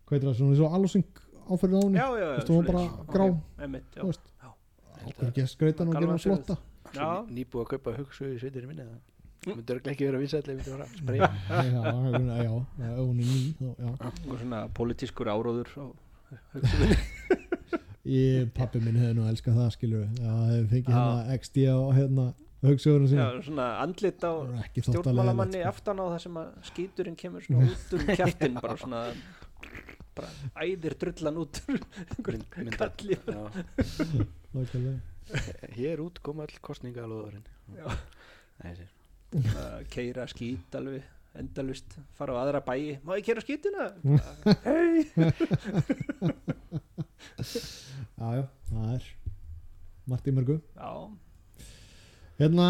Speaker 1: hvað heitir það, svona svo alusing áferðið á henni
Speaker 2: já, já
Speaker 1: Þú veist, hún var bara grá.
Speaker 2: Emitt, já
Speaker 1: þú veist,
Speaker 2: Já.
Speaker 1: okkur ekki að skreita hann og
Speaker 2: Galvan
Speaker 1: gera hann
Speaker 2: Sigurð.
Speaker 1: flotta
Speaker 2: Já. Hm?
Speaker 3: nýbúið að kaupa hugsu í sveitirinn minni það myndi örglega ekki vera vinsætli myndi vera að spreja
Speaker 1: já, já, já, ef hún er ný þá, já.
Speaker 2: og svona pólitískur áróður á hugsuðinni
Speaker 1: Ég, pappi minn hefði nú elskað það skilur já, hefði fengið
Speaker 2: Já.
Speaker 1: hérna XD á hérna haugsögunum
Speaker 2: Já,
Speaker 1: sína
Speaker 2: svona andlit á
Speaker 1: Það var ekki þótt að
Speaker 2: stjórnmálamanni
Speaker 1: leiðilegt,
Speaker 2: aftan á það sem að skíturinn kemur
Speaker 1: [LAUGHS]
Speaker 2: svona út úr kjartinn bara svona bara æðir drullan út úr
Speaker 3: Mynd- mynda-
Speaker 2: kalli
Speaker 3: Já.
Speaker 1: sko. Nákvæmlega.
Speaker 3: hér út kom all kostningalóðurinn
Speaker 2: Já.
Speaker 3: þessi
Speaker 2: keira skít alveg endalvist, fara á aðra bæi má ég keira
Speaker 1: [LAUGHS]
Speaker 2: skítina?
Speaker 1: já, já, það er margt í mörgu
Speaker 2: Já,
Speaker 1: Hérna,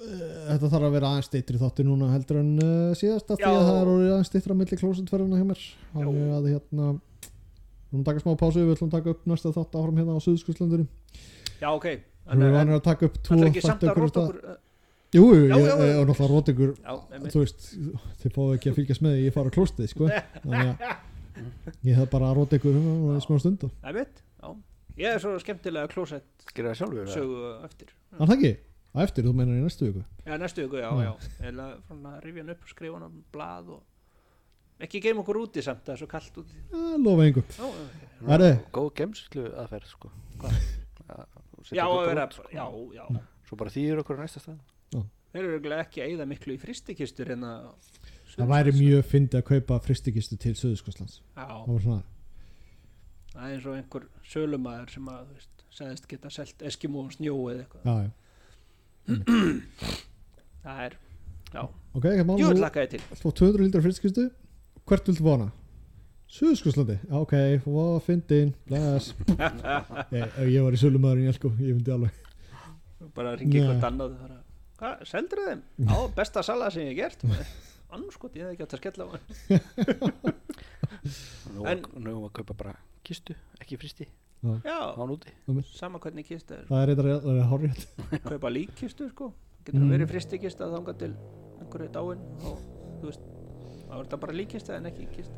Speaker 1: eh, þetta þarf að vera aðeins steytri þátti núna heldur en uh, síðast að því
Speaker 2: Já.
Speaker 1: að það er orðið aðeins steytra milli klósetverðina hjá mér Þannig
Speaker 2: Já.
Speaker 1: að hérna, við viljum taka smá pásu, við viljum taka upp næsta þátt áfram hérna á Suðskurslandinu
Speaker 2: já ok
Speaker 1: Við erum
Speaker 2: en
Speaker 1: vanir að taka upp tvo
Speaker 2: það er ekki samt
Speaker 1: þætti á
Speaker 2: að
Speaker 1: hverjum
Speaker 2: róta
Speaker 1: stað.
Speaker 2: okkur uh,
Speaker 1: Jú, jú,
Speaker 2: Já, já,
Speaker 1: ég, ég,
Speaker 2: já.
Speaker 1: ég og náttúrulega rót ykkur
Speaker 2: Já, einmitt.
Speaker 1: þú veist, þið fáið ekki að fylgjast með því, ég fara að klóstið,
Speaker 2: [LAUGHS]
Speaker 1: sko Þannig að ég hef bara að rót ykkur um það í smá stund og-
Speaker 2: Einmitt, já. Ég er svo skemmtilega klósett
Speaker 3: gera það sjálfur það?
Speaker 2: sögu eftir.
Speaker 1: Er það ekki? Á eftir, þú meinar í næstu viku
Speaker 2: Já, næstu ykkur, já,
Speaker 1: Já.
Speaker 2: já. Eða svona rifja hann upp, skrifa hann á blað og ekki geim okkur úti samt, það er svo kallt úti.
Speaker 1: Eh, Lofa engu
Speaker 2: Já, já,
Speaker 3: Svona
Speaker 1: Herri.
Speaker 3: góð gemslu aðferð sko
Speaker 2: Hvað?
Speaker 3: Að- þú setur
Speaker 2: já,
Speaker 3: þetta
Speaker 2: að
Speaker 3: út,
Speaker 2: vera,
Speaker 3: sko.
Speaker 2: já, já.
Speaker 3: svo bara þýðir okkur á næsta stað
Speaker 2: Þeir eru örugglega ekki að eyða miklu í hérna fristikistur en að...
Speaker 1: Það væri mjög fyndi að kaupa fristikistu til Suðurskostlands
Speaker 2: Já,
Speaker 1: Það var svona
Speaker 2: það er eins og einhver sölumæður sem að, þú veist, segðist geta selt Eskimo og snjó eða eitthvað.
Speaker 1: já, já.
Speaker 2: Það er, já,
Speaker 1: ok, ekki mál
Speaker 2: jú,
Speaker 1: þú
Speaker 2: lakaði til.
Speaker 1: ert fá 200 lítrar friskistu hvert viltu vona? Suðskurslandi, Já, ok, og fyndin bless ég, ef ég var í sölumæðurinn, ég sko, ég myndi alveg
Speaker 2: Bara ringi
Speaker 1: Nei.
Speaker 2: eitthvað annað. bara, Hvað, seldur þeim? Já, besta sala sem ég hef gert. Annarskot, ég hef ekki átt að skella á hann.
Speaker 3: nú
Speaker 2: En-
Speaker 3: erum við að kaupa bara kistu ekki fristi
Speaker 2: Já,
Speaker 3: án úti
Speaker 2: sama hvernig kista er
Speaker 1: það er eitthvað það er hárið
Speaker 2: kaupa líkkistu sko getur
Speaker 1: Mm.
Speaker 2: mm. verið fristikista þangað til einhverju dáin og þú veist þá er þetta bara líkkista en ekki kista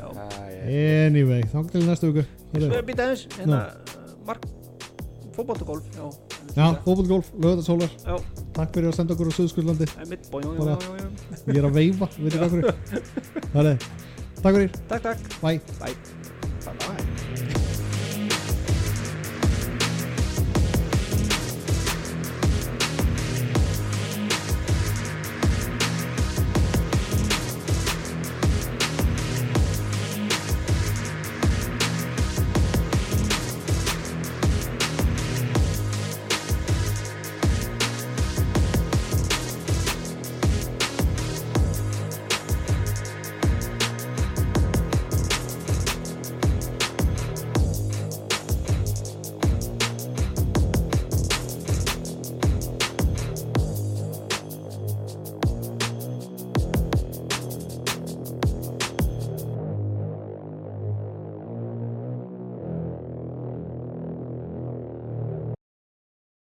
Speaker 2: já,
Speaker 3: Æ,
Speaker 1: anyway, þangar til næstu viku
Speaker 2: svo
Speaker 1: Herðu.
Speaker 2: er býta eins hérna, uh, mark, fótboltagólf já,
Speaker 1: já, fótbolgólf, lögðarsólar
Speaker 2: já,
Speaker 1: takk fyrir að senda okkur á Suðskurslandi
Speaker 2: það er mitt boing, boing,
Speaker 1: Bara-
Speaker 2: boing, boing, boing.
Speaker 1: ég er að veifa, veit ekki hvað fyrir það er, takk fyrir,
Speaker 2: takk, takk,
Speaker 1: bye
Speaker 2: bæ